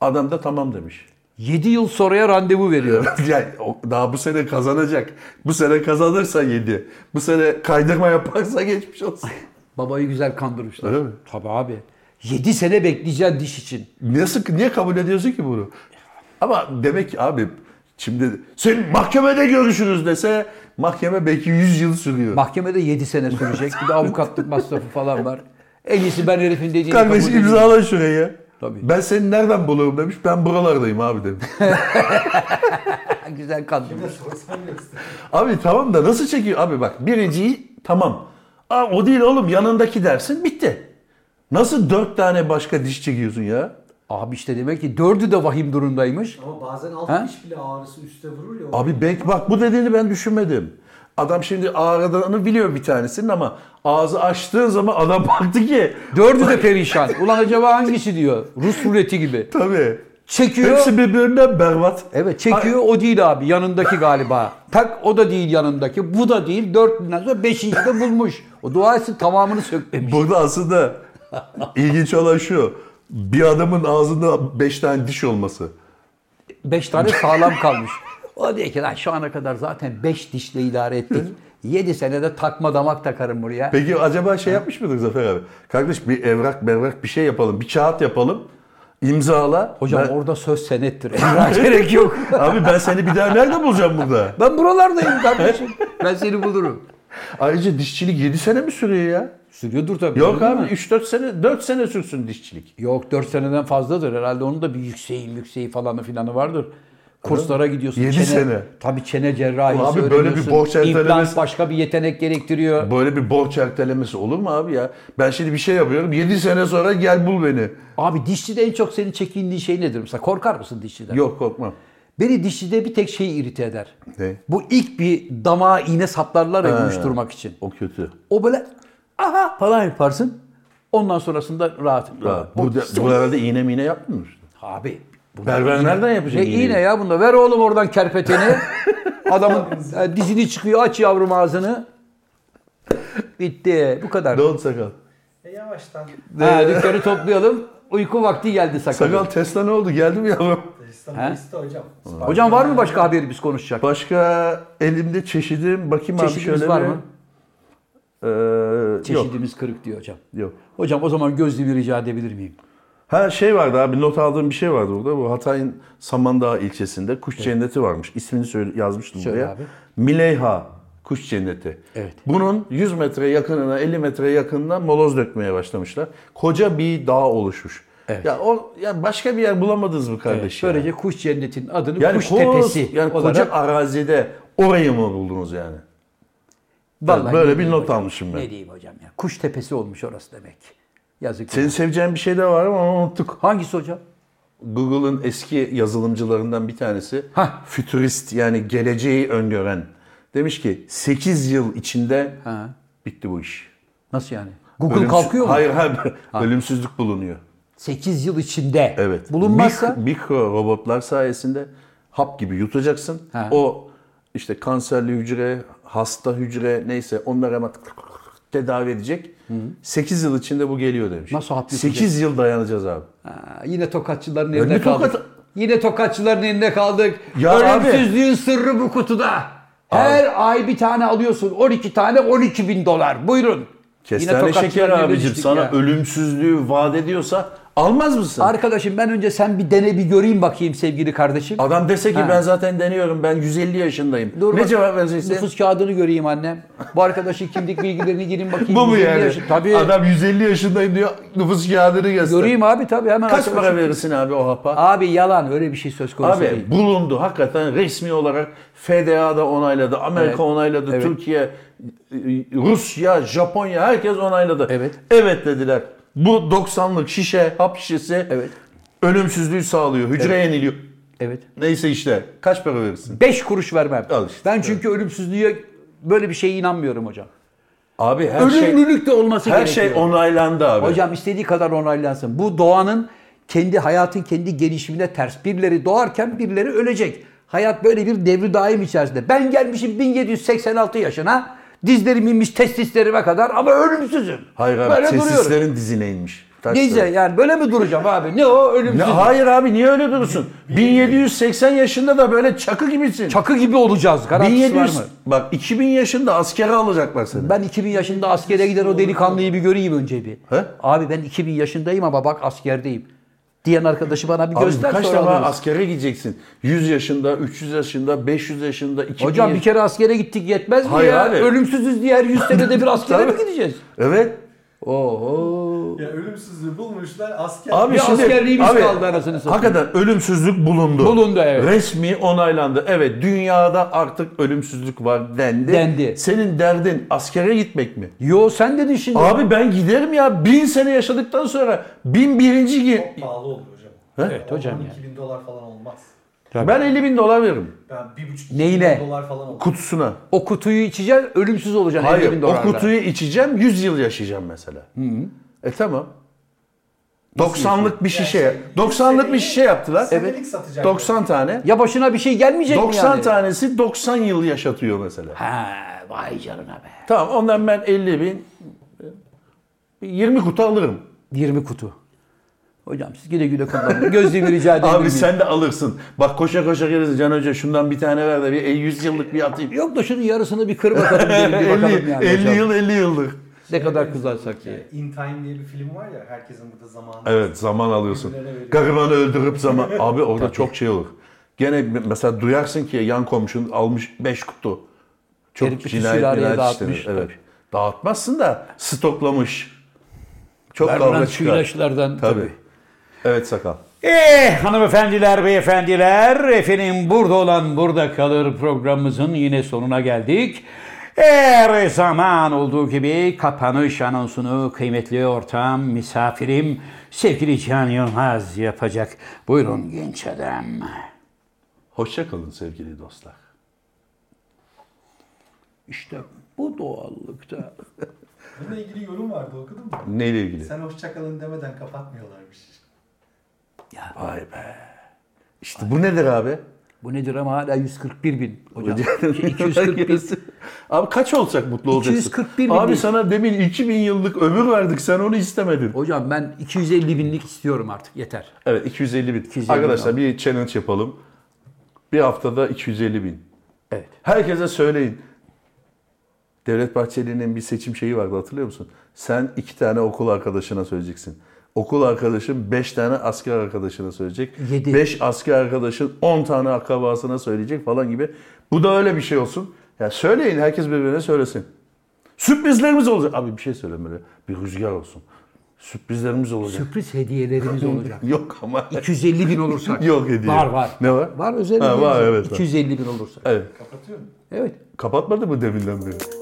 [SPEAKER 2] Adam da tamam demiş.
[SPEAKER 1] 7 yıl sonraya randevu veriyor.
[SPEAKER 2] yani o- daha bu sene kazanacak. Bu sene kazanırsa 7. Bu sene kaydırma yaparsa geçmiş olsun.
[SPEAKER 1] Babayı güzel kandırmışlar.
[SPEAKER 2] Öyle mi?
[SPEAKER 1] Tabii abi. 7 sene bekleyeceksin diş için.
[SPEAKER 2] Nasıl, niye kabul ediyorsun ki bunu? Ama demek ki abi şimdi sen mahkemede görüşürüz dese mahkeme belki 100 yıl sürüyor.
[SPEAKER 1] Mahkemede 7 sene sürecek. Bir de avukatlık masrafı falan var. En iyisi ben herifin dediğini
[SPEAKER 2] Kardeş
[SPEAKER 1] kabul edeyim.
[SPEAKER 2] imzala şuraya.
[SPEAKER 1] Tabii.
[SPEAKER 2] Ben seni nereden bulurum demiş. Ben buralardayım abi demiş.
[SPEAKER 1] Güzel kandırmış.
[SPEAKER 3] Sorsan göster.
[SPEAKER 2] abi tamam da nasıl çekiyor? Abi bak birinciyi tamam. Aa, o değil oğlum yanındaki dersin bitti. Nasıl dört tane başka diş çekiyorsun ya?
[SPEAKER 1] Abi işte demek ki dördü de vahim durumdaymış.
[SPEAKER 3] Ama bazen
[SPEAKER 1] Ha?
[SPEAKER 3] alt diş bile ağrısı üste vurur ya.
[SPEAKER 2] Abi belki bak bu dediğini ben düşünmedim. Adam şimdi ağrıdığını biliyor bir tanesinin ama ağzı açtığın zaman adam baktı ki
[SPEAKER 1] Dördü de perişan. Ulan acaba hangisi diyor. Rus ruleti gibi.
[SPEAKER 2] tabii
[SPEAKER 1] Çekiyor.
[SPEAKER 2] hepsi birbirinden berbat.
[SPEAKER 1] Evet çekiyor o değil abi yanındaki galiba. Tak o da değil yanındaki. Bu da değil. Dörtünden sonra beşinci de bulmuş. O dua etsin tamamını sökmemiş.
[SPEAKER 2] Burada aslında ilginç olan şu. Bir adamın ağzında 5 tane diş olması.
[SPEAKER 1] Beş tane sağlam kalmış. O diyor ki lan şu ana kadar zaten beş dişle idare ettik. Yedi senede takma damak takarım buraya.
[SPEAKER 2] Peki acaba şey yapmış mıdır Zafer abi? Kardeş bir evrak mevrak bir şey yapalım. Bir kağıt yapalım. imzala.
[SPEAKER 1] Hocam
[SPEAKER 2] Ben-
[SPEAKER 1] orada söz senettir. Ona gerek yok.
[SPEAKER 2] Abi ben seni bir daha nerede bulacağım burada?
[SPEAKER 1] Ben buralardayım kardeşim. ben seni bulurum.
[SPEAKER 2] Ayrıca dişçilik 7 sene mi sürüyor ya?
[SPEAKER 1] Sürüyordur tabii.
[SPEAKER 2] Yok
[SPEAKER 1] değil
[SPEAKER 2] abi
[SPEAKER 1] mi?
[SPEAKER 2] 3-4 sene 4 sene sürsün dişçilik.
[SPEAKER 1] Yok 4 seneden fazladır. Herhalde onun da bir yükseği yükseği falanı filanı vardır. Kurslara gidiyorsun.
[SPEAKER 2] Yedi
[SPEAKER 1] çene-
[SPEAKER 2] sene.
[SPEAKER 1] Tabii çene cerrahisi
[SPEAKER 2] Abi böyle bir
[SPEAKER 1] öğreniyorsun.
[SPEAKER 2] borç ertelemesi-
[SPEAKER 1] İmplant başka bir yetenek gerektiriyor.
[SPEAKER 2] Böyle bir borç ertelemesi olur mu abi ya? Ben şimdi bir şey yapıyorum 7 sene sonra gel bul beni.
[SPEAKER 1] Abi dişçide en çok senin çekindiğin şey nedir? Mesela korkar mısın dişçiden?
[SPEAKER 2] Yok korkmam.
[SPEAKER 1] Beni dişçide bir tek şey irite eder.
[SPEAKER 2] Ne?
[SPEAKER 1] Bu ilk bir damağa iğne saplarlar ya uyuşturmak için.
[SPEAKER 2] O kötü.
[SPEAKER 1] O böyle aha falan yaparsın. Ondan sonrasında rahat.
[SPEAKER 2] Ha, bu, da- bu herhalde iğne miğne yapmıyor.
[SPEAKER 1] Abi.
[SPEAKER 2] Berber nereden
[SPEAKER 1] Ne
[SPEAKER 2] yapacak iğneyi?
[SPEAKER 1] iğne ya bunda. Ver oğlum oradan kerpeteni. Adamın e, dizini çıkıyor. Aç yavrum ağzını. Bitti. Bu kadar.
[SPEAKER 2] Ne oldu sakal?
[SPEAKER 3] E, yavaştan.
[SPEAKER 1] Ha, dükkanı toplayalım. Uyku vakti geldi sakal.
[SPEAKER 2] Sakal Tesla ne oldu? Geldi mi yavrum?
[SPEAKER 3] İstanbul liste hocam.
[SPEAKER 1] Hocam var mı başka haberi biz konuşacak?
[SPEAKER 2] Başka elimde çeşidim. Bakayım abi
[SPEAKER 1] Çeşidimiz
[SPEAKER 2] şöyle
[SPEAKER 1] var
[SPEAKER 2] bir-
[SPEAKER 1] mı?
[SPEAKER 2] Ee, Yok.
[SPEAKER 1] Çeşidimiz kırık diyor hocam.
[SPEAKER 2] Yok.
[SPEAKER 1] Hocam o zaman gözlü bir rica edebilir miyim?
[SPEAKER 2] Ha şey vardı abi not aldığım bir şey vardı burada. Bu Hatay'ın Samandağ ilçesinde kuş cenneti varmış. İsmini söyle, yazmıştım
[SPEAKER 1] Söyle
[SPEAKER 2] buraya.
[SPEAKER 1] abi.
[SPEAKER 2] Mileyha kuş cenneti.
[SPEAKER 1] Evet.
[SPEAKER 2] Bunun 100 metre yakınına 50 metre yakınına moloz dökmeye başlamışlar. Koca bir dağ oluşmuş.
[SPEAKER 1] Evet.
[SPEAKER 2] Ya o ya başka bir yer bulamadınız mı kardeş ya?
[SPEAKER 1] Böylece kuş cennetinin adını
[SPEAKER 2] Yani
[SPEAKER 1] kuş
[SPEAKER 2] koz-
[SPEAKER 1] tepesi
[SPEAKER 2] yani
[SPEAKER 1] olarak
[SPEAKER 2] koca arazide orayı mı buldunuz yani?
[SPEAKER 1] Vallahi
[SPEAKER 2] Böyle
[SPEAKER 1] ne
[SPEAKER 2] bir
[SPEAKER 1] diyeyim
[SPEAKER 2] not
[SPEAKER 1] hocam,
[SPEAKER 2] almışım ben.
[SPEAKER 1] Ne diyeyim hocam ya? Kuş tepesi olmuş orası demek. Yazık.
[SPEAKER 2] Senin seveceğin bir şey de var ama onu unuttuk.
[SPEAKER 1] Hangisi hocam?
[SPEAKER 2] Google'ın eski yazılımcılarından bir tanesi
[SPEAKER 1] Hah.
[SPEAKER 2] fütürist yani geleceği öngören demiş ki 8 yıl içinde
[SPEAKER 1] Ha.
[SPEAKER 2] bitti bu iş.
[SPEAKER 1] Nasıl yani? Google
[SPEAKER 2] Ölümsüz-
[SPEAKER 1] kalkıyor mu?
[SPEAKER 2] Hayır hayır. Ölümsüzlük bulunuyor.
[SPEAKER 1] 8 yıl içinde.
[SPEAKER 2] Evet.
[SPEAKER 1] Bulunmazsa
[SPEAKER 2] Mik- mikro robotlar sayesinde hap gibi yutacaksın.
[SPEAKER 1] Ha.
[SPEAKER 2] O işte kanserli hücre, hasta hücre neyse onları hemen tık tık tık tık tedavi edecek. 8 yıl içinde bu geliyor demiş.
[SPEAKER 1] Nasıl hap yutacak?
[SPEAKER 2] 8 yıl dayanacağız abi.
[SPEAKER 1] Ha, yine tokatçıların
[SPEAKER 2] Öyle
[SPEAKER 1] elinde
[SPEAKER 2] bir tokat-
[SPEAKER 1] kaldık. Yine tokatçıların elinde kaldık.
[SPEAKER 2] Ya
[SPEAKER 1] Ölümsüzlüğün sırrı bu kutuda. Her ay bir tane alıyorsun. 12 tane 12 bin dolar. Buyurun.
[SPEAKER 2] Kestane şeker
[SPEAKER 1] tokatçıların eline
[SPEAKER 2] abicim
[SPEAKER 1] düştük
[SPEAKER 2] sana
[SPEAKER 1] ya.
[SPEAKER 2] ölümsüzlüğü vaat ediyorsa almaz mısın?
[SPEAKER 1] Arkadaşım ben önce sen bir dene bir göreyim bakayım sevgili kardeşim.
[SPEAKER 2] Adam dese ki
[SPEAKER 1] Ha.
[SPEAKER 2] ben zaten deniyorum ben 150 yaşındayım.
[SPEAKER 1] Dur
[SPEAKER 2] ne
[SPEAKER 1] bak-
[SPEAKER 2] cevap vereceksin?
[SPEAKER 1] Nüfus kağıdını göreyim annem. Bu arkadaşın kimlik bilgilerini girin bakayım.
[SPEAKER 2] Bu mu
[SPEAKER 1] 150
[SPEAKER 2] yani?
[SPEAKER 1] yaşı- Tabii.
[SPEAKER 2] Adam 150 yaşındayım diyor nüfus kağıdını göster.
[SPEAKER 1] Göreyim abi tabii hemen.
[SPEAKER 2] Kaç
[SPEAKER 1] arkadaşım-
[SPEAKER 2] para verirsin abi o hapa?
[SPEAKER 1] Abi yalan öyle bir şey söz konusu
[SPEAKER 2] Abi
[SPEAKER 1] değil.
[SPEAKER 2] bulundu hakikaten resmi olarak FDA da onayladı, Amerika
[SPEAKER 1] Evet.
[SPEAKER 2] onayladı,
[SPEAKER 1] Evet.
[SPEAKER 2] Türkiye, Rusya, Japonya herkes onayladı.
[SPEAKER 1] Evet.
[SPEAKER 2] Evet dediler. Bu 90'lık şişe, hap şişesi
[SPEAKER 1] Evet.
[SPEAKER 2] ölümsüzlüğü sağlıyor, hücre yeniliyor.
[SPEAKER 1] Evet.
[SPEAKER 2] Neyse işte kaç para verirsin?
[SPEAKER 1] 5 kuruş vermem.
[SPEAKER 2] Al işte.
[SPEAKER 1] Ben çünkü ölümsüzlüğe böyle bir şeye inanmıyorum hocam.
[SPEAKER 2] Abi her şey
[SPEAKER 1] Ölümlülük de olması
[SPEAKER 2] her
[SPEAKER 1] gerekiyor.
[SPEAKER 2] şey onaylandı abi.
[SPEAKER 1] Hocam istediği kadar onaylansın. Bu doğanın kendi hayatın kendi gelişimine ters. Birileri doğarken birileri ölecek. Hayat böyle bir devri daim içerisinde. Ben gelmişim 1786 yaşına. Dizlerim inmiş testislerime kadar ama ölümsüzüm.
[SPEAKER 2] Hayır abi
[SPEAKER 1] böyle duruyorum.
[SPEAKER 2] testislerin dizine inmiş. Taş
[SPEAKER 1] Neyse
[SPEAKER 2] duruyor.
[SPEAKER 1] yani böyle mi duracağım abi? Ne o
[SPEAKER 2] Ne,
[SPEAKER 1] ölümsüzüm.
[SPEAKER 2] hayır abi niye öyle durursun? 1780 yaşında da böyle çakı gibisin.
[SPEAKER 1] Çakı gibi olacağız. Garantisi
[SPEAKER 2] 1700
[SPEAKER 1] var mı?
[SPEAKER 2] bak 2000 yaşında askere alacaklar seni.
[SPEAKER 1] Ben 2000 yaşında askere gider o delikanlıyı bir göreyim önce bir.
[SPEAKER 2] He?
[SPEAKER 1] Abi ben 2000 yaşındayım ama bak askerdeyim. Diyen arkadaşı bana bir
[SPEAKER 2] Abi
[SPEAKER 1] göster
[SPEAKER 2] kaç
[SPEAKER 1] sonra
[SPEAKER 2] defa
[SPEAKER 1] alırız.
[SPEAKER 2] askere gideceksin? 100 yaşında, 300 yaşında, 500 yaşında, 2000
[SPEAKER 1] Hocam bir
[SPEAKER 2] yaş-
[SPEAKER 1] kere askere gittik yetmez mi
[SPEAKER 2] Hayır
[SPEAKER 1] ya?
[SPEAKER 2] abi.
[SPEAKER 1] Ölümsüzüz diğer 100 senede bir askere mi
[SPEAKER 2] Tabii.
[SPEAKER 1] gideceğiz?
[SPEAKER 2] Evet. Oho.
[SPEAKER 3] Ya ölümsüzlüğü bulmuşlar asker.
[SPEAKER 2] Abi
[SPEAKER 1] Ya
[SPEAKER 2] şimdi
[SPEAKER 1] askerliğimiz
[SPEAKER 2] abi,
[SPEAKER 1] kaldı anasını satayım.
[SPEAKER 2] Hakikaten ölümsüzlük bulundu.
[SPEAKER 1] Bulundu, evet.
[SPEAKER 2] Resmi onaylandı. Evet dünyada artık ölümsüzlük var dendi.
[SPEAKER 1] Dendi.
[SPEAKER 2] Senin derdin askere gitmek mi?
[SPEAKER 1] Yo sen dedin şimdi.
[SPEAKER 2] Abi ben giderim ya. Bin sene yaşadıktan sonra bin birinci gi-
[SPEAKER 3] Çok pahalı olur hocam.
[SPEAKER 1] Evet hocam ya.
[SPEAKER 3] 12 bin dolar falan olmaz.
[SPEAKER 2] Ben 50 bin dolar veririm.
[SPEAKER 3] Ben bir buçuk
[SPEAKER 1] Neyine?
[SPEAKER 3] bin dolar falan olmaz.
[SPEAKER 2] Kutusuna.
[SPEAKER 1] O kutuyu içeceksin ölümsüz olacaksın
[SPEAKER 2] Hayır
[SPEAKER 1] 50 bin dolarla.
[SPEAKER 2] o kutuyu içeceğim 100 yıl yaşayacağım mesela. E tamam. 90'lık bir şişe. 90'lık bir şişe yaptılar.
[SPEAKER 3] Senelik satacak.
[SPEAKER 2] 90 tane.
[SPEAKER 1] Ya başına bir şey gelmeyecek mi
[SPEAKER 2] 90
[SPEAKER 1] yani?
[SPEAKER 2] tanesi 90 yıl yaşatıyor mesela.
[SPEAKER 1] Ha, vay canına be.
[SPEAKER 2] Tamam ondan ben 50 bin 20 kutu alırım.
[SPEAKER 1] 20 kutu. Hocam siz güle güle kullanın. Gözlüğümü rica edeyim.
[SPEAKER 2] Abi sen de alırsın. Bak koşa koşa gelirsin Can Hoca şundan bir tane ver de bir 100 yıllık bir atayım.
[SPEAKER 1] Yok da şunun yarısını bir kır bakalım. derim, bir bakalım
[SPEAKER 2] 50,
[SPEAKER 1] yani
[SPEAKER 2] 50
[SPEAKER 1] hocam.
[SPEAKER 2] yıl 50 yıllık.
[SPEAKER 1] Ne
[SPEAKER 3] Şeye
[SPEAKER 1] kadar
[SPEAKER 3] benziyor
[SPEAKER 1] kızarsak
[SPEAKER 3] bu
[SPEAKER 1] iyi.
[SPEAKER 3] hikaye. In Time diye bir film var ya herkesin burada zamanı.
[SPEAKER 2] Evet zaman alıyorsun.
[SPEAKER 3] Birbirlerine veriyor.
[SPEAKER 2] Garibanı öldürüp zaman. Abi orada çok şey olur. Gene mesela duyarsın ki yan komşun almış 5 kutu. Çok
[SPEAKER 1] Herif bütün
[SPEAKER 2] cinayet
[SPEAKER 1] sülaleye
[SPEAKER 2] minayet
[SPEAKER 1] dağıtmış,
[SPEAKER 2] işlenir. Evet. Dağıtmazsın da stoklamış. Çok
[SPEAKER 1] Verilen
[SPEAKER 2] kavga çıkar.
[SPEAKER 1] suylaçlardan
[SPEAKER 2] Tabii.
[SPEAKER 1] tabii.
[SPEAKER 2] Evet sakal.
[SPEAKER 1] Eh hanımefendiler, beyefendiler, efendim burada olan burada kalır programımızın yine sonuna geldik. Her zaman olduğu gibi kapanış anonsunu kıymetli ortağım, misafirim sevgili Can Yılmaz yapacak. Buyurun genç adam.
[SPEAKER 2] Hoşçakalın sevgili dostlar.
[SPEAKER 1] İşte bu doğallıkta.
[SPEAKER 3] Bununla ilgili yorum vardı okudun mu?
[SPEAKER 2] Neyle ilgili?
[SPEAKER 3] Sen hoşçakalın demeden kapatmıyorlarmış.
[SPEAKER 2] Vay be. İşte bu nedir abi?
[SPEAKER 1] Bu nedir ama hala 141 bin hocam.
[SPEAKER 2] Hocam.
[SPEAKER 1] 241 bin.
[SPEAKER 2] Abi kaç olsak mutlu olacaksın?
[SPEAKER 1] 241 bin
[SPEAKER 2] Abi
[SPEAKER 1] değil.
[SPEAKER 2] sana demin 2000 yıllık ömür verdik sen onu istemedin.
[SPEAKER 1] Hocam ben 250 binlik istiyorum artık yeter.
[SPEAKER 2] Evet 250 bin.
[SPEAKER 1] 250 bin
[SPEAKER 2] Arkadaşlar bir challenge yapalım. Bir haftada 250 bin.
[SPEAKER 1] Evet.
[SPEAKER 2] Herkese söyleyin. Devlet Bahçeli'nin bir seçim şeyi vardı hatırlıyor musun? Sen iki tane okul arkadaşına söyleyeceksin. Okul arkadaşın beş tane asker arkadaşına söyleyecek.
[SPEAKER 1] Yedi.
[SPEAKER 2] Beş asker arkadaşın on tane akrabasına söyleyecek falan gibi. Bu da öyle bir şey olsun. Ya söyleyin herkes birbirine söylesin. Sürprizlerimiz olacak. Abi bir şey söyle böyle. Bir rüzgar olsun. Sürprizlerimiz olacak.
[SPEAKER 1] Sürpriz hediyelerimiz olacak.
[SPEAKER 2] Yok ama.
[SPEAKER 1] 250 bin olursak.
[SPEAKER 2] Yok hediye.
[SPEAKER 1] Var var.
[SPEAKER 2] Ne var?
[SPEAKER 1] Var özel
[SPEAKER 2] Ha,
[SPEAKER 1] hediye
[SPEAKER 2] var,
[SPEAKER 1] bizim.
[SPEAKER 2] evet, var.
[SPEAKER 1] 250 bin olursak.
[SPEAKER 2] Evet.
[SPEAKER 3] Kapatıyor mu?
[SPEAKER 1] Evet.
[SPEAKER 2] Kapatmadı mı deminden beri?